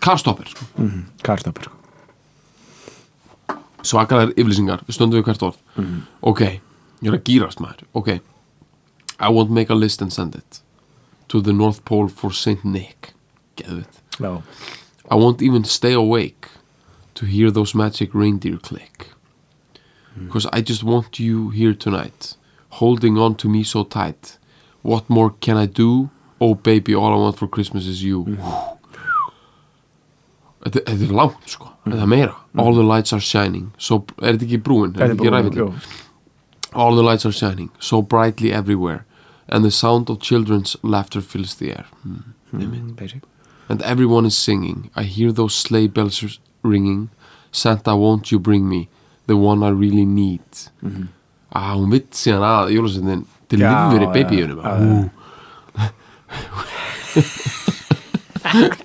Speaker 2: karstoppir sko.
Speaker 3: Mhm, kartapur
Speaker 2: svakalæðar yflýsingar, við stöndum við hvert orð ok, ég er að gýrast maður ok, I won't make a list and send it to the North Pole for St. Nick geðvitt
Speaker 3: já,
Speaker 2: I won't even stay awake to hear those magic reindeer click. Because I just want you here tonight, holding on to me so tight. What more can I do? Oh baby, all I want for Christmas is you. <sighs> Þetta, þetta er langt sko, þetta er meira. All the lights are shining. So, er þetta ekki brúin? Er þetta ekki ræfileg?
Speaker 3: jú.
Speaker 2: All the lights are shining, so brightly everywhere, and the sound of children's laughter fills the air. Mm.
Speaker 3: basic.
Speaker 2: and everyone is singing. I hear those sleigh bells r- ringing. Santa, won't you bring me the one I really need? Mm -hmm. Ah, hún vitt síðan að jólasendin til
Speaker 3: Já,
Speaker 2: lífveri
Speaker 3: já,
Speaker 2: babyjunum.
Speaker 3: já,
Speaker 2: <laughs>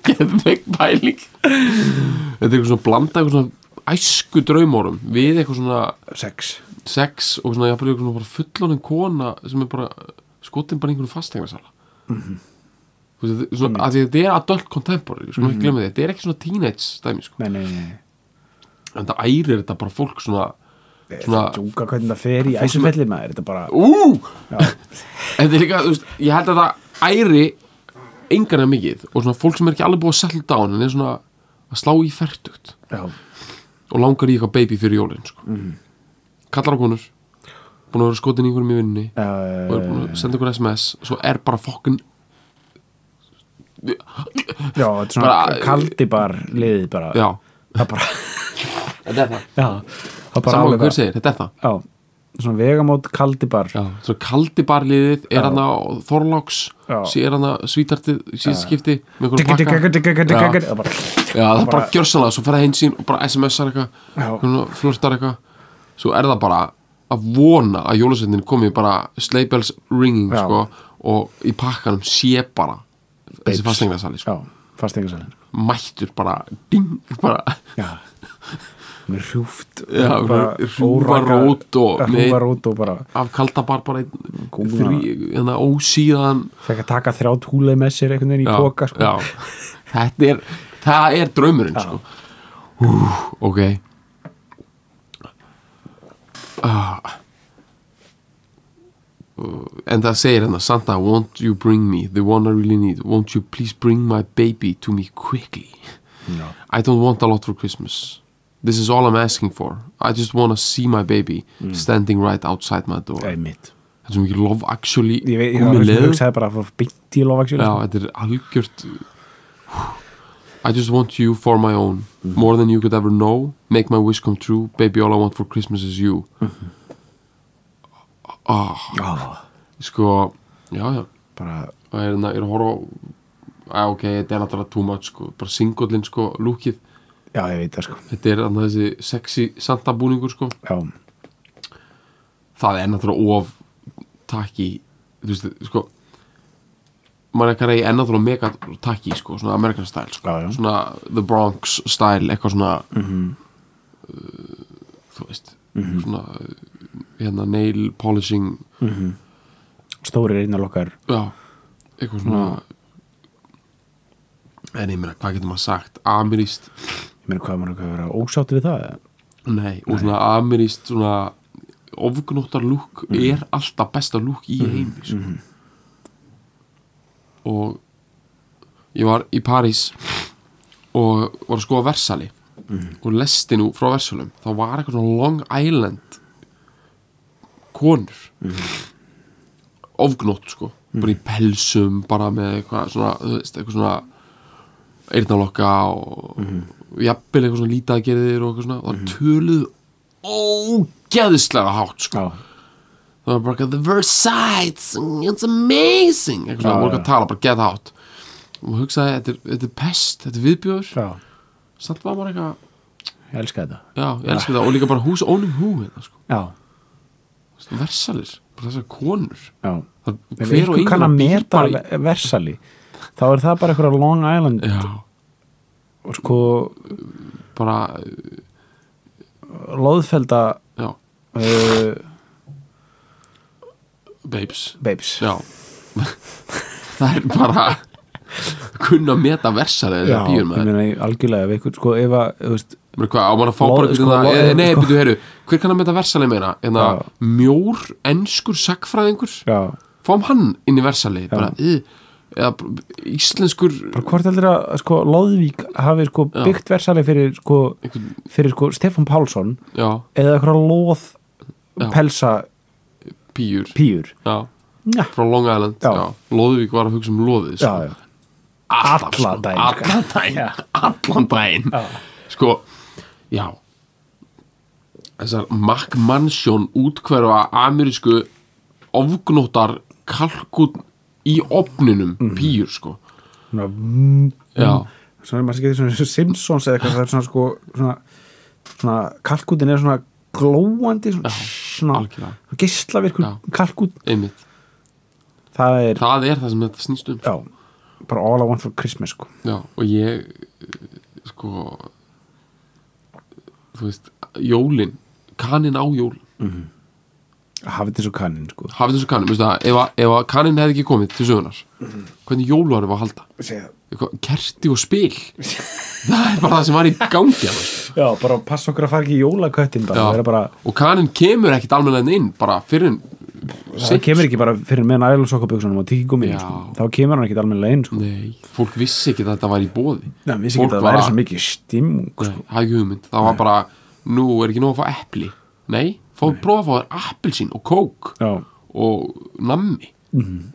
Speaker 2: Geðveik pæling. Þetta er eitthvað svona blanda eitthvað svona æsku draumórum við eitthvað svona
Speaker 3: sex
Speaker 2: sex og svona jafnvel eitthvað svona bara fullonin kona sem er bara skotin bara í einhvern fasteignasala mm -hmm. veist, svona, að því að þetta er adult contemporary sko, mm -hmm. þetta er ekki svona teenage dæmi sko.
Speaker 3: nei, nei, nei.
Speaker 2: en það ærir þetta bara fólk svona svona
Speaker 3: djúka hvernig það fer í æsufelli maður þetta bara
Speaker 2: Ah. ú <laughs> þetta er líka, þú veist, ég held að það æri engan að mikið og svona fólk sem er ekki alveg búið að settle down en er svona að slá í fertugt
Speaker 3: já,
Speaker 2: og langar í eitthvað baby fyrir jólin sko. kallar á konur búin að vera skotin í einhverjum í vinninni og er
Speaker 3: uh,
Speaker 2: búin að senda ykkur sms svo er bara fokkin
Speaker 3: já þetta er svona
Speaker 2: Bara-
Speaker 3: kaldi bara liðið bara
Speaker 2: já,
Speaker 3: það bara,
Speaker 2: þetta er það
Speaker 3: já, það bara
Speaker 2: saman
Speaker 3: alveg
Speaker 2: hver
Speaker 3: bara-
Speaker 2: segir, þetta er það
Speaker 3: já, svona vegamót kaldi bara
Speaker 2: já. svo kaldi barliðið, er hann á Þorláks
Speaker 3: Já.
Speaker 2: sé er hann á svítartið síðan skipti með
Speaker 3: Digga, digga,
Speaker 2: einhverjum
Speaker 3: digga, digga, digga, digga.
Speaker 2: pakka já,
Speaker 3: Það bara-
Speaker 2: já það er bara
Speaker 3: bara-
Speaker 2: gjörsanlega, svo fer það hinn sín og bara smsar
Speaker 3: Já.
Speaker 2: eitthvað flörtar eitthvað svo er það bara að vona að jólasveitin komi bara sleipels ringing
Speaker 3: Já.
Speaker 2: sko, og í pakkanum sé bara þessi
Speaker 3: Babes.
Speaker 2: fasteignasali sko.
Speaker 3: já, fasteignasalinn sko.
Speaker 2: mættur bara ding, bara
Speaker 3: já með hrjúft
Speaker 2: Já,
Speaker 3: bara
Speaker 2: hrjúfa
Speaker 3: órakað-
Speaker 2: rót og-
Speaker 3: hrjúfa rót og bara
Speaker 2: af kaldabar bara einn
Speaker 3: Góða.
Speaker 2: þrý, hérna ósíðan
Speaker 3: fekk að taka þrjá túleið með sér einhvern veginn í póka sko.
Speaker 2: já. þetta er það er draumurinn sko. Úf, ok ah. Uh, en það segir hérna Santa, won't you bring me the one I really need, won't you please bring my baby to me quickly
Speaker 3: Já.
Speaker 2: I don't want a lot for Christmas. This is all I'm asking for. I just want to see my baby
Speaker 3: Mm.
Speaker 2: standing right outside my door.
Speaker 3: einmitt
Speaker 2: Þetta er svo mikið love actually
Speaker 3: ég veit, ég
Speaker 2: komið
Speaker 3: hafði
Speaker 2: leið.
Speaker 3: hugsaði bara að fá byggt í sko. lofaksjóð
Speaker 2: Já, þetta er algjört I just want you for my own More than you could ever know Make my wish come true Baby, all I want for Christmas is you Sko, já, já
Speaker 3: bara,
Speaker 2: og er, hérna- er að horfa á að ok, þetta er náttúrulega too much sko. bara singullin, sko, lúkið
Speaker 3: já ég veit það sko
Speaker 2: þetta er þarna þessi sexy Santa búningur, sko
Speaker 3: já,
Speaker 2: það er náttúrulega of takki þú veist, sko maður ekki reyði ennáttúrulega mega takki sko, svona American style sko.
Speaker 3: Já, Mhm. já.
Speaker 2: svona The Bronx style, eitthvað svona -hmm. uh, þú veist
Speaker 3: Mhm.
Speaker 2: svona uh, hérna, nail polishing
Speaker 3: stóri reynar okkar
Speaker 2: já, eitthvað svona
Speaker 3: Mhm.
Speaker 2: en ég meina, hvað getur maður sagt amirist,
Speaker 3: ég meina hvað mann okkar að vera ósátti við það eða?
Speaker 2: nei, og svona amirist svona
Speaker 3: Mhm.
Speaker 2: ofgnóttar lúk er alltaf besta lúk í heimi sko. og ég var í París og var að skoða Versali og lesti nú frá Versalum þá var eitthvað svona Long Island konur ofgnótt sko bara í pelsum, bara með eitthvað svona, þú veist, eitthvað svona eyrnalokka og jafnvel eitthvað svona lítagerðir og eitthvað svona og það töluðu ógeðislega hátt sko
Speaker 3: já,
Speaker 2: það var bara eitthvað, the Versailles it's amazing eitthvað svona,
Speaker 3: Já,
Speaker 2: voru
Speaker 3: já.
Speaker 2: að tala, bara get out og hugsaði, þetta er, þetta er pest, þetta er viðbjóður
Speaker 3: já,
Speaker 2: samt var bara eitthvað,
Speaker 3: ég elska þetta
Speaker 2: já, ég elski það og líka bara who's owning who hérna, sko.
Speaker 3: já,
Speaker 2: versalir, bara þessar konur
Speaker 3: já
Speaker 2: það,
Speaker 3: ef einhver kann að meta versali þá er það bara eitthvað Long Island
Speaker 2: já,
Speaker 3: og sko
Speaker 2: bara,
Speaker 3: loðfelda
Speaker 2: já,
Speaker 3: uh,
Speaker 2: babes
Speaker 3: babes
Speaker 2: já <laughs> það er bara kunna að meta versalir eða
Speaker 3: Já, ég
Speaker 2: býjur með
Speaker 3: meina ég algjörlega ef einhvern sko ef að, þú veist,
Speaker 2: Mér hvað, á mann að fá
Speaker 3: Ló-
Speaker 2: bara
Speaker 3: sko,
Speaker 2: sko,
Speaker 3: ló-
Speaker 2: sko, Nei,
Speaker 3: sko.
Speaker 2: byrju, heyrðu, hver kann að mynda versali meina? En það
Speaker 3: Já.
Speaker 2: Hérna, mjór, enskur, sagfræðingur
Speaker 3: já,
Speaker 2: Fáum hann inn í versali bara, í, Eða bara íslenskur
Speaker 3: bara hvort heldur að sko Lóðvík hafi sko
Speaker 2: Já.
Speaker 3: byggt versali fyrir sko,
Speaker 2: einhvern,
Speaker 3: fyrir sko Stefán Pálsson
Speaker 2: Já,
Speaker 3: eða eitthvað loð
Speaker 2: Já.
Speaker 3: pelsa
Speaker 2: pýjur
Speaker 3: pýur
Speaker 2: Já,
Speaker 3: Já,
Speaker 2: frá Long Island
Speaker 3: Já.
Speaker 2: já. Lóðvík var að hugsa um loðið sko.
Speaker 3: já, já,
Speaker 2: Alltaf,
Speaker 3: Alla
Speaker 2: sko.
Speaker 3: daginn, sko. <laughs>
Speaker 2: Allan daginn
Speaker 3: Já.
Speaker 2: Allan daginn
Speaker 3: Já.
Speaker 2: Sko, já Þessar McMansion útkverfa amerísku ofgnóttar kalkun í opninum
Speaker 3: Mhm.
Speaker 2: pýjur sko
Speaker 3: svona mm,
Speaker 2: Já,
Speaker 3: svona maður getur svona <laughs> eins og Simpsons eða eitthvað það er svona sko svona, svona kalkutin er svona glóandi svona, svona
Speaker 2: algjörlega.
Speaker 3: geislavirkur
Speaker 2: Já.
Speaker 3: kalkut
Speaker 2: einmitt
Speaker 3: það er,
Speaker 2: Það er það sem þetta snýst um
Speaker 3: já, bara all I want for Christmas sko
Speaker 2: Já, og ég eh, sko þú veist, jólin kanin á jól,
Speaker 3: hafið þessu kannin sko
Speaker 2: hafið þessu kanin veistu það, ef, að- ef að kanin hefði ekki komið til sögunar
Speaker 3: Mhm.
Speaker 2: hvernig jóluar var að halda
Speaker 3: Segja.
Speaker 2: Eitthvað, kerti og spil það er bara það sem var í
Speaker 3: <laughs>
Speaker 2: gangi annars.
Speaker 3: já, bara passa okkur að fara ekki í jólaköttin bara,
Speaker 2: Já.
Speaker 3: það, er bara,
Speaker 2: og kanin kemur ekkit almennilegn inn bara fyrir en
Speaker 3: það kemur ekki bara fyrir með nælsokkaböksunum og tíkigummin
Speaker 2: Já.
Speaker 3: sko. þá kemur hann ekki almennilega inn sko.
Speaker 2: Nei, fólk vissi ekki að þetta var í bóði
Speaker 3: Nei, vissi ekki að það væri svo mikið stimmung
Speaker 2: Nei,
Speaker 3: sko.
Speaker 2: það er ekki hugmynd það var bara, nú er ekki nóg að fá epli nei, fá, prófa að fá þér appelsín og kók
Speaker 3: já, Mhm.
Speaker 2: og nammi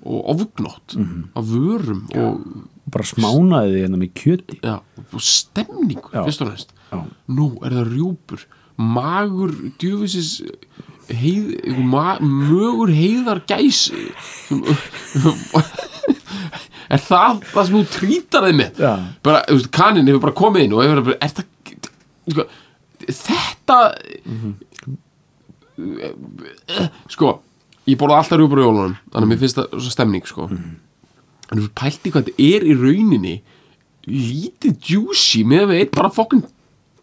Speaker 2: og ofgnótt af vörum og,
Speaker 3: bara smánaði því hérna með kjöti
Speaker 2: ja, og stemningu
Speaker 3: Já.
Speaker 2: fyrst og næst
Speaker 3: Já.
Speaker 2: nú er það rjúpur magur djöfisins heið, einhver ma, mögur heiðar gæs sem- <laughs> er það það sem þú trítar þeim með
Speaker 3: Já.
Speaker 2: bara, þú veist, kanin hefur bara komið inn og hefur bara, er það sko, þetta
Speaker 3: Mhm.
Speaker 2: sko, ég borða alltaf rjúpur í jólunum þannig að mér finnst það svo stemning sko. en þú pælt í hvað þetta er í rauninni lítið juicy með að við eitt bara fokkin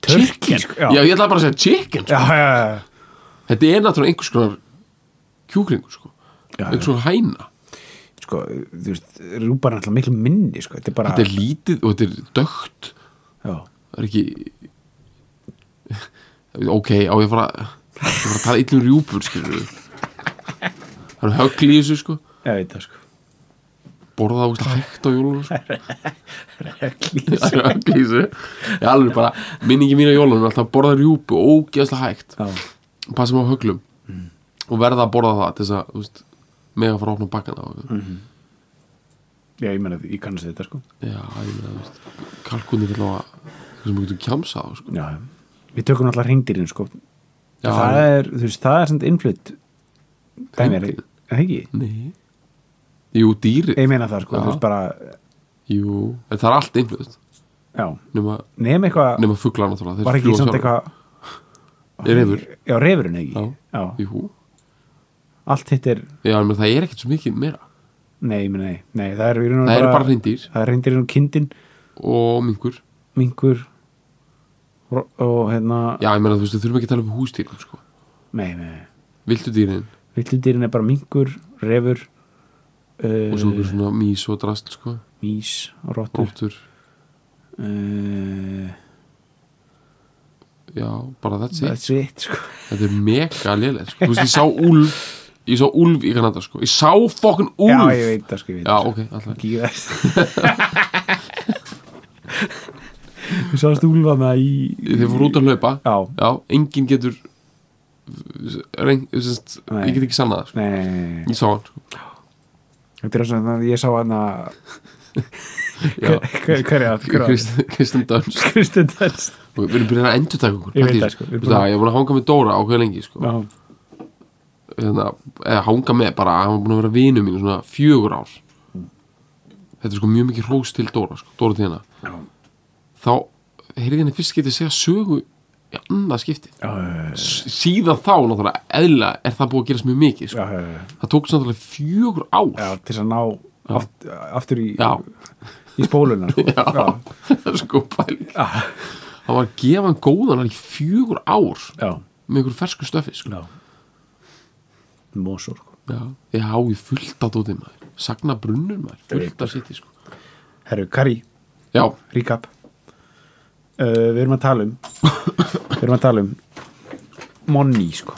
Speaker 3: Turkey,
Speaker 2: chicken
Speaker 3: sko, já.
Speaker 2: já. ég ætla bara að segja chicken sko.
Speaker 3: já, já, já,
Speaker 2: þetta er náttúrulega einhvers konar kjúklingur sko.
Speaker 3: já, já.
Speaker 2: einhvers konar hæna
Speaker 3: sko, þú veist, rúpar er alltaf miklu minni, sko, þetta er bara
Speaker 2: þetta er lítið og þetta er dögt
Speaker 3: já,
Speaker 2: það er ekki <laughs> ok, á ég að fara ég að fara að tala illum rjúpur skilur við það er högl í þessu sko
Speaker 3: ég veit það, sko
Speaker 2: borða það ógeðslega hægt á jólunum sko. <laughs>
Speaker 3: <laughs> reglís,
Speaker 2: það er högl í þessu ég alveg bara, minningi mín á jólunum er alltaf að borða rjúpu, ógeðslega hægt
Speaker 3: já, Mm.
Speaker 2: og passa mig á höglum og verða að borða það til þess að þú veist, mega fara að opna bakkana og,
Speaker 3: Mm. já, ég meina, ég kannast við þetta, sko
Speaker 2: já, ég meina, þú veist, kalkunir er alveg eitthvað sem þú getur kjamsa á sko.
Speaker 3: já, við tökum alltaf hringdýrin, sko
Speaker 2: Já,
Speaker 3: það er, þú veist, það er samt innflutt dæmi, er
Speaker 2: Hreindýrin?
Speaker 3: er það ekki?
Speaker 2: nei jú, dýri,
Speaker 3: ég meina það, sko,
Speaker 2: Já.
Speaker 3: þú veist, bara
Speaker 2: jú en það er allt einflöð
Speaker 3: já,
Speaker 2: nema,
Speaker 3: nefn eitthvað,
Speaker 2: nema fuglar náttúrulega þeir
Speaker 3: var ekki
Speaker 2: fljúga
Speaker 3: samt
Speaker 2: sjálfir.
Speaker 3: eitthvað
Speaker 2: er yfir,
Speaker 3: já, refurinn, ekki,
Speaker 2: Já.
Speaker 3: já,
Speaker 2: jú
Speaker 3: allt hitt er
Speaker 2: já, en það er ekkert svo mikið meira
Speaker 3: nei, ég meina, nei, nei, það er í raun og
Speaker 2: það eru bara hreindýr
Speaker 3: það er hringdýrin og kindin,
Speaker 2: og mingur
Speaker 3: mingur og, og hérna
Speaker 2: já, ég meina, þú veist, við þurfum ekki að tala um hústýrum sko.
Speaker 3: nei, nei, nei
Speaker 2: viltu dýrin
Speaker 3: Villudýrin er bara mingur, refur
Speaker 2: og svo
Speaker 3: uh,
Speaker 2: einhver svona mís og drast sko,
Speaker 3: mís, rottur
Speaker 2: róttur
Speaker 3: uh,
Speaker 2: já, bara that's it
Speaker 3: That's it sko.
Speaker 2: Þetta er mega lélega sko. Þú veist, ég sá úlf ég sá úlf í Kanada sko ég sá fokkun
Speaker 3: já,
Speaker 2: úlf
Speaker 3: ég veit það sko, ég veit
Speaker 2: Já,
Speaker 3: það, sko.
Speaker 2: ok, alltaf <laughs>
Speaker 3: Gíðast Við sáðast úlfa með það í
Speaker 2: Þið fóru út að hlaupa
Speaker 3: Já,
Speaker 2: Já, enginn getur reyng, sest,
Speaker 3: Nei.
Speaker 2: Ég get ekki sannað það, sko.
Speaker 3: nei, nei, nei, nei.
Speaker 2: Ég sá hann sko.
Speaker 3: Þetta er svona, ég sá hann að
Speaker 2: Já.
Speaker 3: <laughs> Hver er það? Hver er það?
Speaker 2: Krist- Kristinn Dunst
Speaker 3: Kristinn Dæst
Speaker 2: og Við erum byrjað að endur taka okkur
Speaker 3: Ég veit
Speaker 2: pældi í
Speaker 3: það,
Speaker 2: þessu.
Speaker 3: sko. Við erum
Speaker 2: Þú veist
Speaker 3: búin
Speaker 2: það, Ég er búin að hanga með Dóra ákveð lengi sko.
Speaker 3: Já,
Speaker 2: Þannig að, hérna, eða hanga með bara hann var búin að vera vinu mín í svona fjögur ár Þetta er sko mjög mikið hrós til Dóra sko, Dóra tíðina
Speaker 3: já,
Speaker 2: Þá heyrði henni fyrst getið segja sögu í annað skipti
Speaker 3: já, já,
Speaker 2: S- Síðan þá, náttúrulega, eðla er það búið að gerast mjög mikið sko.
Speaker 3: já, já, já.
Speaker 2: Það tók samtalið fjögur ár
Speaker 3: Já, til þess að ná aft, aftur í,
Speaker 2: Já.
Speaker 3: í
Speaker 2: <laughs>
Speaker 3: spóluna sko. Já,
Speaker 2: Það er <laughs> sko pæling Hann var að gefa hann góðan hann í fjögur ár
Speaker 3: já,
Speaker 2: með einhver fersku stöfi sko.
Speaker 3: já. Mosó sko.
Speaker 2: Já, ég á í fullt að dóti maður Sagna brunnur maður, fullt að sitt sko.
Speaker 3: Herru, Kari,
Speaker 2: Já,
Speaker 3: recap uh, Við erum að tala um Við erum að tala um Money sko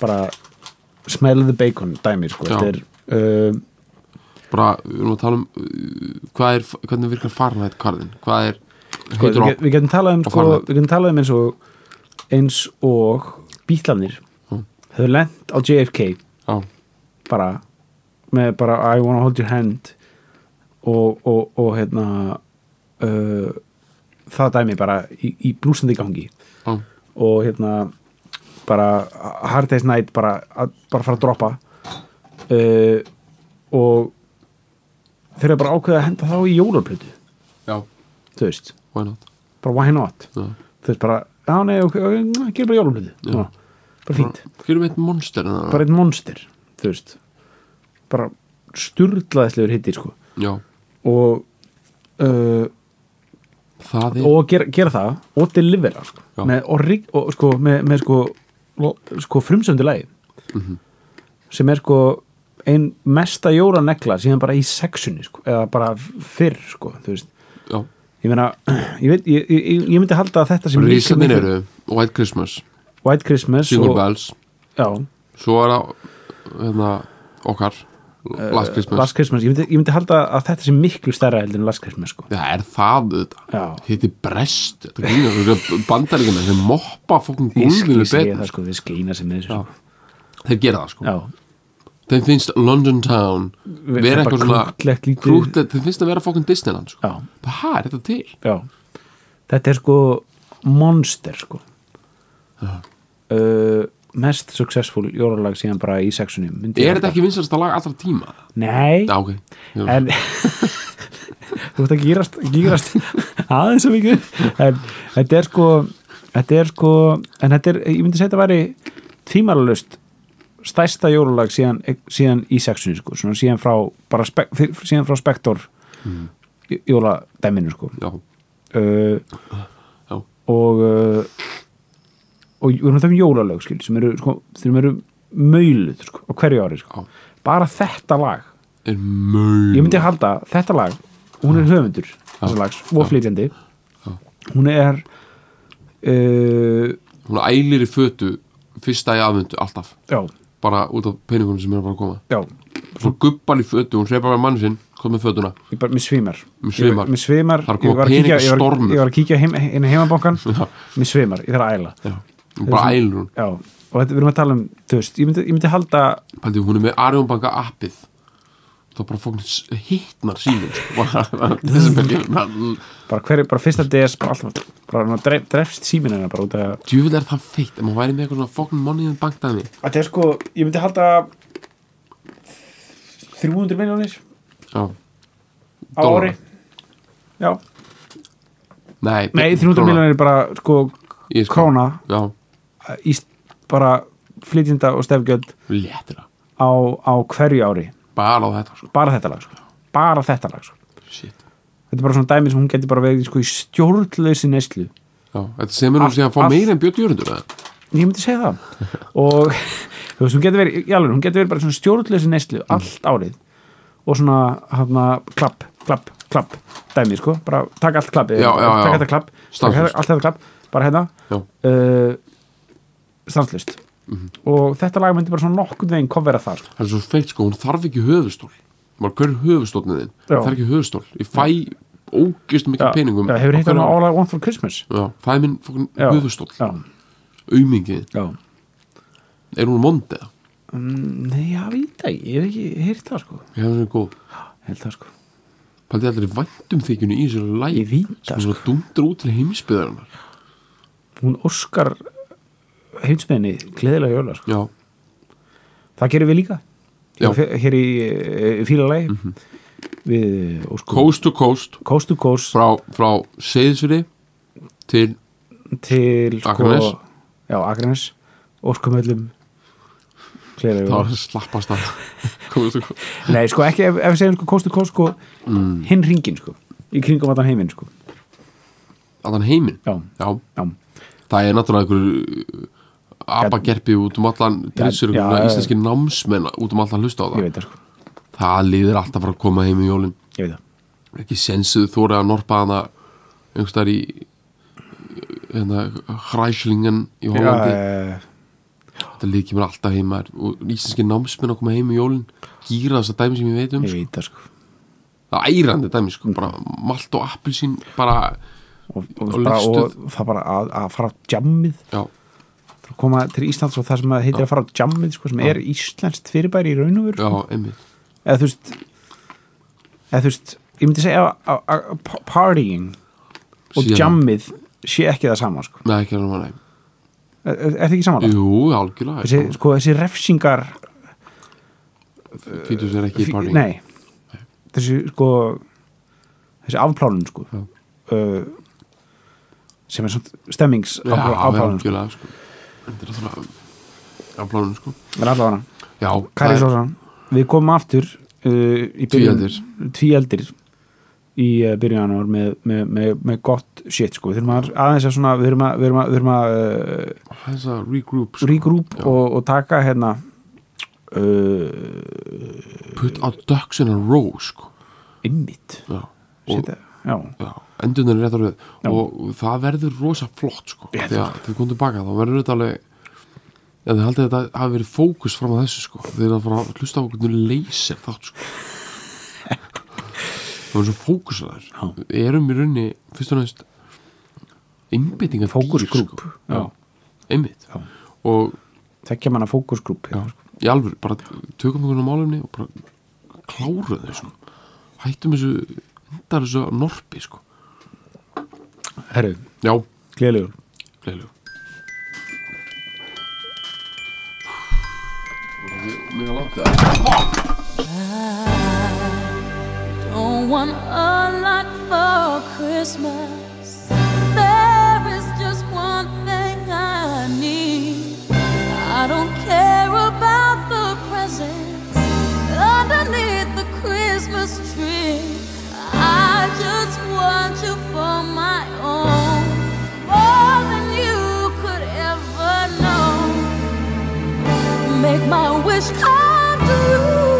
Speaker 3: Bara smell the bacon dæmi sko
Speaker 2: Já.
Speaker 3: Þetta er uh,
Speaker 2: bara, við erum að tala um uh, hvað er, hvernig virkar farnætt karðin hvað er,
Speaker 3: sko, við,
Speaker 2: heitur á
Speaker 3: get- við getum talað um
Speaker 2: Og
Speaker 3: sko,
Speaker 2: farlegt.
Speaker 3: við getum talað um eins og eins og bítlanir
Speaker 2: Mm.
Speaker 3: hefur lent á JFK
Speaker 2: Já,
Speaker 3: bara með bara I wanna hold your hand og, og, og hérna uh, það dæmi bara í, í blúsandi gangi
Speaker 2: já,
Speaker 3: og hérna bara Hard Day's Night bara, að, bara fara að droppa uh, og þeir eru bara ákveðið að henda þá í jólaplötu
Speaker 2: já,
Speaker 3: þú veist,
Speaker 2: why not
Speaker 3: bara why not
Speaker 2: Já.
Speaker 3: þú veist bara, já nei, ok, ok, gerum bara jólaplötu
Speaker 2: Já.
Speaker 3: já. bara fínt,
Speaker 2: Gerum við eitt monster en það
Speaker 3: bara einn monster þú veist, bara sturlaðislegur hittir sko
Speaker 2: Já,
Speaker 3: og uh,
Speaker 2: það er
Speaker 3: og gera, gera það og delivera sko.
Speaker 2: Já.
Speaker 3: með, og, rig- og sko, með, með sko, lo- sko frumsöndu lagi
Speaker 2: Mhm.
Speaker 3: sem er sko ein mesta jóra negla síðan bara í sexunni sko, eða bara fyrr sko, þú veist
Speaker 2: Já,
Speaker 3: ég meina, <clears throat> ég, veit, ég, ég, ég myndi halda að þetta sem
Speaker 2: Rísarnir eru White Christmas,
Speaker 3: White Christmas
Speaker 2: Jingle
Speaker 3: og,
Speaker 2: Bells
Speaker 3: já,
Speaker 2: Svo er það hérna, okkar Last Christmas
Speaker 3: Eh, Last Christmas ég myndi, ég myndi halda að þetta sem miklu stærra heldur en Last Christmas sko
Speaker 2: Það er það þetta
Speaker 3: Já.
Speaker 2: Hitti brest Þetta grínur Bandaríkina Þeir moppa fokkun
Speaker 3: ég, ég
Speaker 2: gólfinu
Speaker 3: segi
Speaker 2: betur
Speaker 3: það sko, þeir skeina sem með þessu
Speaker 2: Já.
Speaker 3: já,
Speaker 2: Þeir gera það sko
Speaker 3: já,
Speaker 2: Þeim finnst London Town
Speaker 3: Ver-
Speaker 2: Vera
Speaker 3: bara
Speaker 2: eitthvað svona
Speaker 3: krúttlegt lítið-
Speaker 2: Krútlegt Þeim finnst að vera fokkun Disneyland sko
Speaker 3: já,
Speaker 2: Bara hæ, er þetta til?
Speaker 3: já þetta er sko monster sko uh, mest successful jólalag síðan bara í sexunum myndi ég
Speaker 2: Er þetta
Speaker 3: halda.
Speaker 2: ekki vinsalasta lag allra tíma?
Speaker 3: Nei,
Speaker 2: Já, ok Já.
Speaker 3: en <laughs> þú ert að gýrast, gýrast <laughs> aðeins og mikið en þetta er sko þetta er sko, en þetta er ég myndi segja þetta væri tímalalust stærsta jólulag síðan, síðan í sexunni sko, svona síðan frá bara spek, fyr- síðan frá spektor mm. jóladæminu sko
Speaker 2: Já,
Speaker 3: uh,
Speaker 2: já,
Speaker 3: og uh, og við erum að tala um jólalög skil sem eru, sko, þeim eru mögluð sko, á hverju ári sko.
Speaker 2: já Mm.
Speaker 3: bara þetta lag,
Speaker 2: Er mjög
Speaker 3: ég myndi halda þetta lag, hún er höfundur þessa lags og flytjandi hún er uh,
Speaker 2: Hún ælir í fötu Fyrsta í aðvöndu Alltaf
Speaker 3: já,
Speaker 2: Bara út af peningunum sem er að fara að koma
Speaker 3: já
Speaker 2: Svo gubbar í fötu Hún hreipar með mann sinn Kom með fötuna
Speaker 3: ég bara, mér svimar
Speaker 2: Mér svimar.
Speaker 3: ég, mér svimar.
Speaker 2: Það er að
Speaker 3: ég
Speaker 2: koma
Speaker 3: var að kíkja, ég var,
Speaker 2: peningastormur.
Speaker 3: ég var að kíkja heim, inn í heimabankan
Speaker 2: Já.
Speaker 3: mér svimar, ég þarf að æla
Speaker 2: Já Hún bara
Speaker 3: Þessi-
Speaker 2: ælir hún
Speaker 3: já, og þetta, við erum að tala um þú veist, ég myndi, ég myndi halda
Speaker 2: Paldi, hún er með Arjónbanka appið þá bara fókn hittnar síðan <laughs>
Speaker 3: <laughs>
Speaker 2: þessi belgi
Speaker 3: bara hverju, bara fyrsta DS bara alltaf, bara hann dref, drefst símin hennar bara út af
Speaker 2: djúvel er það feitt ef maður væri með eitthvað svona fókn money in bank dæmi
Speaker 3: þetta er sko, ég myndi halda 300 miljónir
Speaker 2: já,
Speaker 3: á
Speaker 2: Dollara.
Speaker 3: ári já,
Speaker 2: nei,
Speaker 3: nei 300 miljónir er bara sko,
Speaker 2: Ég sko-
Speaker 3: króna
Speaker 2: já,
Speaker 3: í st- bara flytjinda og stefgjöld
Speaker 2: léttir það
Speaker 3: á, á hverju ári,
Speaker 2: bara á þetta sko.
Speaker 3: bara þetta lag sko. bara þetta lag, sko.
Speaker 2: shit
Speaker 3: þetta er bara svona dæmi sem hún getur bara verið sko, í stjórnlausi neyslu
Speaker 2: já, þetta semur hún
Speaker 3: Allt-
Speaker 2: síðan að fá
Speaker 3: allt-
Speaker 2: meira en Björn Jörgundur eða?
Speaker 3: ég myndi
Speaker 2: <laughs>
Speaker 3: segja það og þú veist, hún getur verið, jálfur, hún getur verið bara svona stjórnleysi neyslu
Speaker 2: Mm.
Speaker 3: allt árið og svona, hérna, klapp, klapp, klapp dæmi, sko, bara taka allt klappið
Speaker 2: Já, já,
Speaker 3: taka
Speaker 2: já.
Speaker 3: þetta klapp, taka
Speaker 2: Stanslaust.
Speaker 3: þetta- allt þetta klapp bara hérna
Speaker 2: já,
Speaker 3: uh, stanslust
Speaker 2: Mhm.
Speaker 3: og þetta lag myndi bara svona nokkurn veginn kofvera það sko.
Speaker 2: það er svo feitt sko, hún þarf ekki höfustól maður, hver er höfustólnið þinn?
Speaker 3: Já.
Speaker 2: það er ekki höfustól, ég fæ ógist mikið peningum
Speaker 3: já, hefur hitt
Speaker 2: Af
Speaker 3: hann
Speaker 2: hverju-
Speaker 3: All I Want For Christmas
Speaker 2: Já, það er minn fokkin
Speaker 3: Já.
Speaker 2: höfustól
Speaker 3: já,
Speaker 2: aumingi,
Speaker 3: já
Speaker 2: er hún mondið?
Speaker 3: Mm, nei, já, veit ekki, ég hef ekki hirt það sko
Speaker 2: Ég hef það góð
Speaker 3: held það sko
Speaker 2: Paldi allir væntum þykjunni í þessu lægi
Speaker 3: Ég veit
Speaker 2: Sem
Speaker 3: það, sko.
Speaker 2: svona dundur út til heimsbyðarinnar
Speaker 3: hún óskar heimsmeðinni gleðilega jóla sko.
Speaker 2: Já,
Speaker 3: það gerum við líka
Speaker 2: Já. Mhm.
Speaker 3: hér, hér í e, fílalagi við óskum
Speaker 2: coast to coast
Speaker 3: coast to coast
Speaker 2: Frá, frá Seyðsfyrði Til
Speaker 3: til sko,
Speaker 2: Akraness.
Speaker 3: já, Akranes óskum öllum gleðilega
Speaker 2: það
Speaker 3: jóla
Speaker 2: var
Speaker 3: <laughs>
Speaker 2: slappast að Coast to coast
Speaker 3: nei, sko ekki ef, ef við segjum sko coast to coast sko
Speaker 2: Mm.
Speaker 3: hinn ringin sko í kringum allan heiminn sko
Speaker 2: Allan heiminn
Speaker 3: já,
Speaker 2: Já,
Speaker 3: já,
Speaker 2: það er náttúrulega einhver Abagerpi út um allan Drissur
Speaker 3: já,
Speaker 2: einhverja
Speaker 3: já.
Speaker 2: íslenski námsmenn Út um allan hlusta á
Speaker 3: ég
Speaker 2: það
Speaker 3: veit það sko
Speaker 2: Það líður alltaf bara að koma heim í jólin
Speaker 3: ég veit það
Speaker 2: Ekki sensuðu þóra að norpa hana Einhverstaðar í hérna, Hræslingen í Hollandi
Speaker 3: já, eh,
Speaker 2: Þetta lið kemur alltaf heim maður. og íslenski námsmenn að koma heim í jólin gýra þess að dæmi sem ég veit um
Speaker 3: ég
Speaker 2: sko.
Speaker 3: veit það sko
Speaker 2: það er ærandi dæmi sko, bara malt og appelsín bara,
Speaker 3: og, og,
Speaker 2: Og
Speaker 3: bara, og
Speaker 2: leggstuð.
Speaker 3: það bara að, að fara á jammið
Speaker 2: já,
Speaker 3: að koma til Íslands og það sem að heitir að fara á jammið sko, sem er íslenskt fyrirbæri í raun og veru
Speaker 2: já, einmitt
Speaker 3: eða þú veist eða þú veist, ég myndi segja að- að að pa- partying og
Speaker 2: Síðan-
Speaker 3: jammið sé ekki það sama sko.
Speaker 2: Nei, ekki hann var neim
Speaker 3: er, er er það ekki saman?
Speaker 2: Jú, algjörlega
Speaker 3: Þessi,
Speaker 2: sko,
Speaker 3: sko, þessi refsingar
Speaker 2: Fítus er sko. ekki í party
Speaker 3: nei, þessi sko þessi afplánun sko
Speaker 2: Já.
Speaker 3: uh, sem er svona stemmings
Speaker 2: já,
Speaker 3: afplánun sko.
Speaker 2: algjörlega sko. Þetta er alltaf afplánun sko.
Speaker 3: en allavega
Speaker 2: Já, það
Speaker 3: Kari
Speaker 2: er-
Speaker 3: Sósan, við komum aftur uh, í byrjun tvíaldir í uh, byrjanúar með, með, með, með gott shit sko, við þurfum að aðeins að svona við þurfum að, við þurfum að, við þurfum að uh,
Speaker 2: það er þess að regroup sko.
Speaker 3: regroup
Speaker 2: Já.
Speaker 3: og, og taka hérna uh,
Speaker 2: Put out ducks in a row sko.
Speaker 3: innmitt
Speaker 2: Já, og
Speaker 3: Setja- já,
Speaker 2: Já, endurnar er rétt á röð
Speaker 3: Já.
Speaker 2: og það verður rosa flott sko
Speaker 3: Rétt
Speaker 2: þegar þau komum tilbaka þá verður þetta alveg Já, þið haldið að þetta hafi verið fókus fram að þessu sko Þið er að fara að hlusta á okkur leyser
Speaker 3: <laughs>
Speaker 2: þátt sko Það verður svo fókus að
Speaker 3: Já.
Speaker 2: þær Við erum í rauninni, fyrst og næst einbyttingar
Speaker 3: fókusgrúp
Speaker 2: Já, einbytt
Speaker 3: Já.
Speaker 2: Og
Speaker 3: þekkja manna hérna, sko. fókusgrúp
Speaker 2: já, í alvöru, bara tökum okkur á málumni og bara kláruðu þau sko Hættum þessu, endar þessu að norpi sko
Speaker 3: herru,
Speaker 2: Já,
Speaker 3: gleðilegur
Speaker 2: Gleðilegur Mjög langt það
Speaker 4: Don't want a lot for Christmas. There is just one thing I need. I don't care about the presents underneath the Christmas tree. I just want you for my own, more than you could ever know make my wish come true.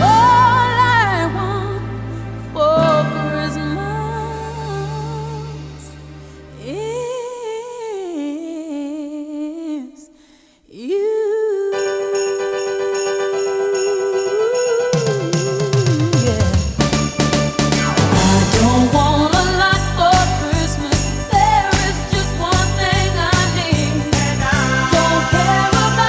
Speaker 4: All I want for Christmas is you. Yeah. I don't want a lot for Christmas. There is just one thing I need. Don't care about the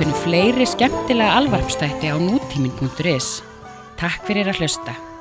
Speaker 1: finnum fleiri skemmtilega alvarpstætti á nútímin.is. Takk fyrir að hlusta.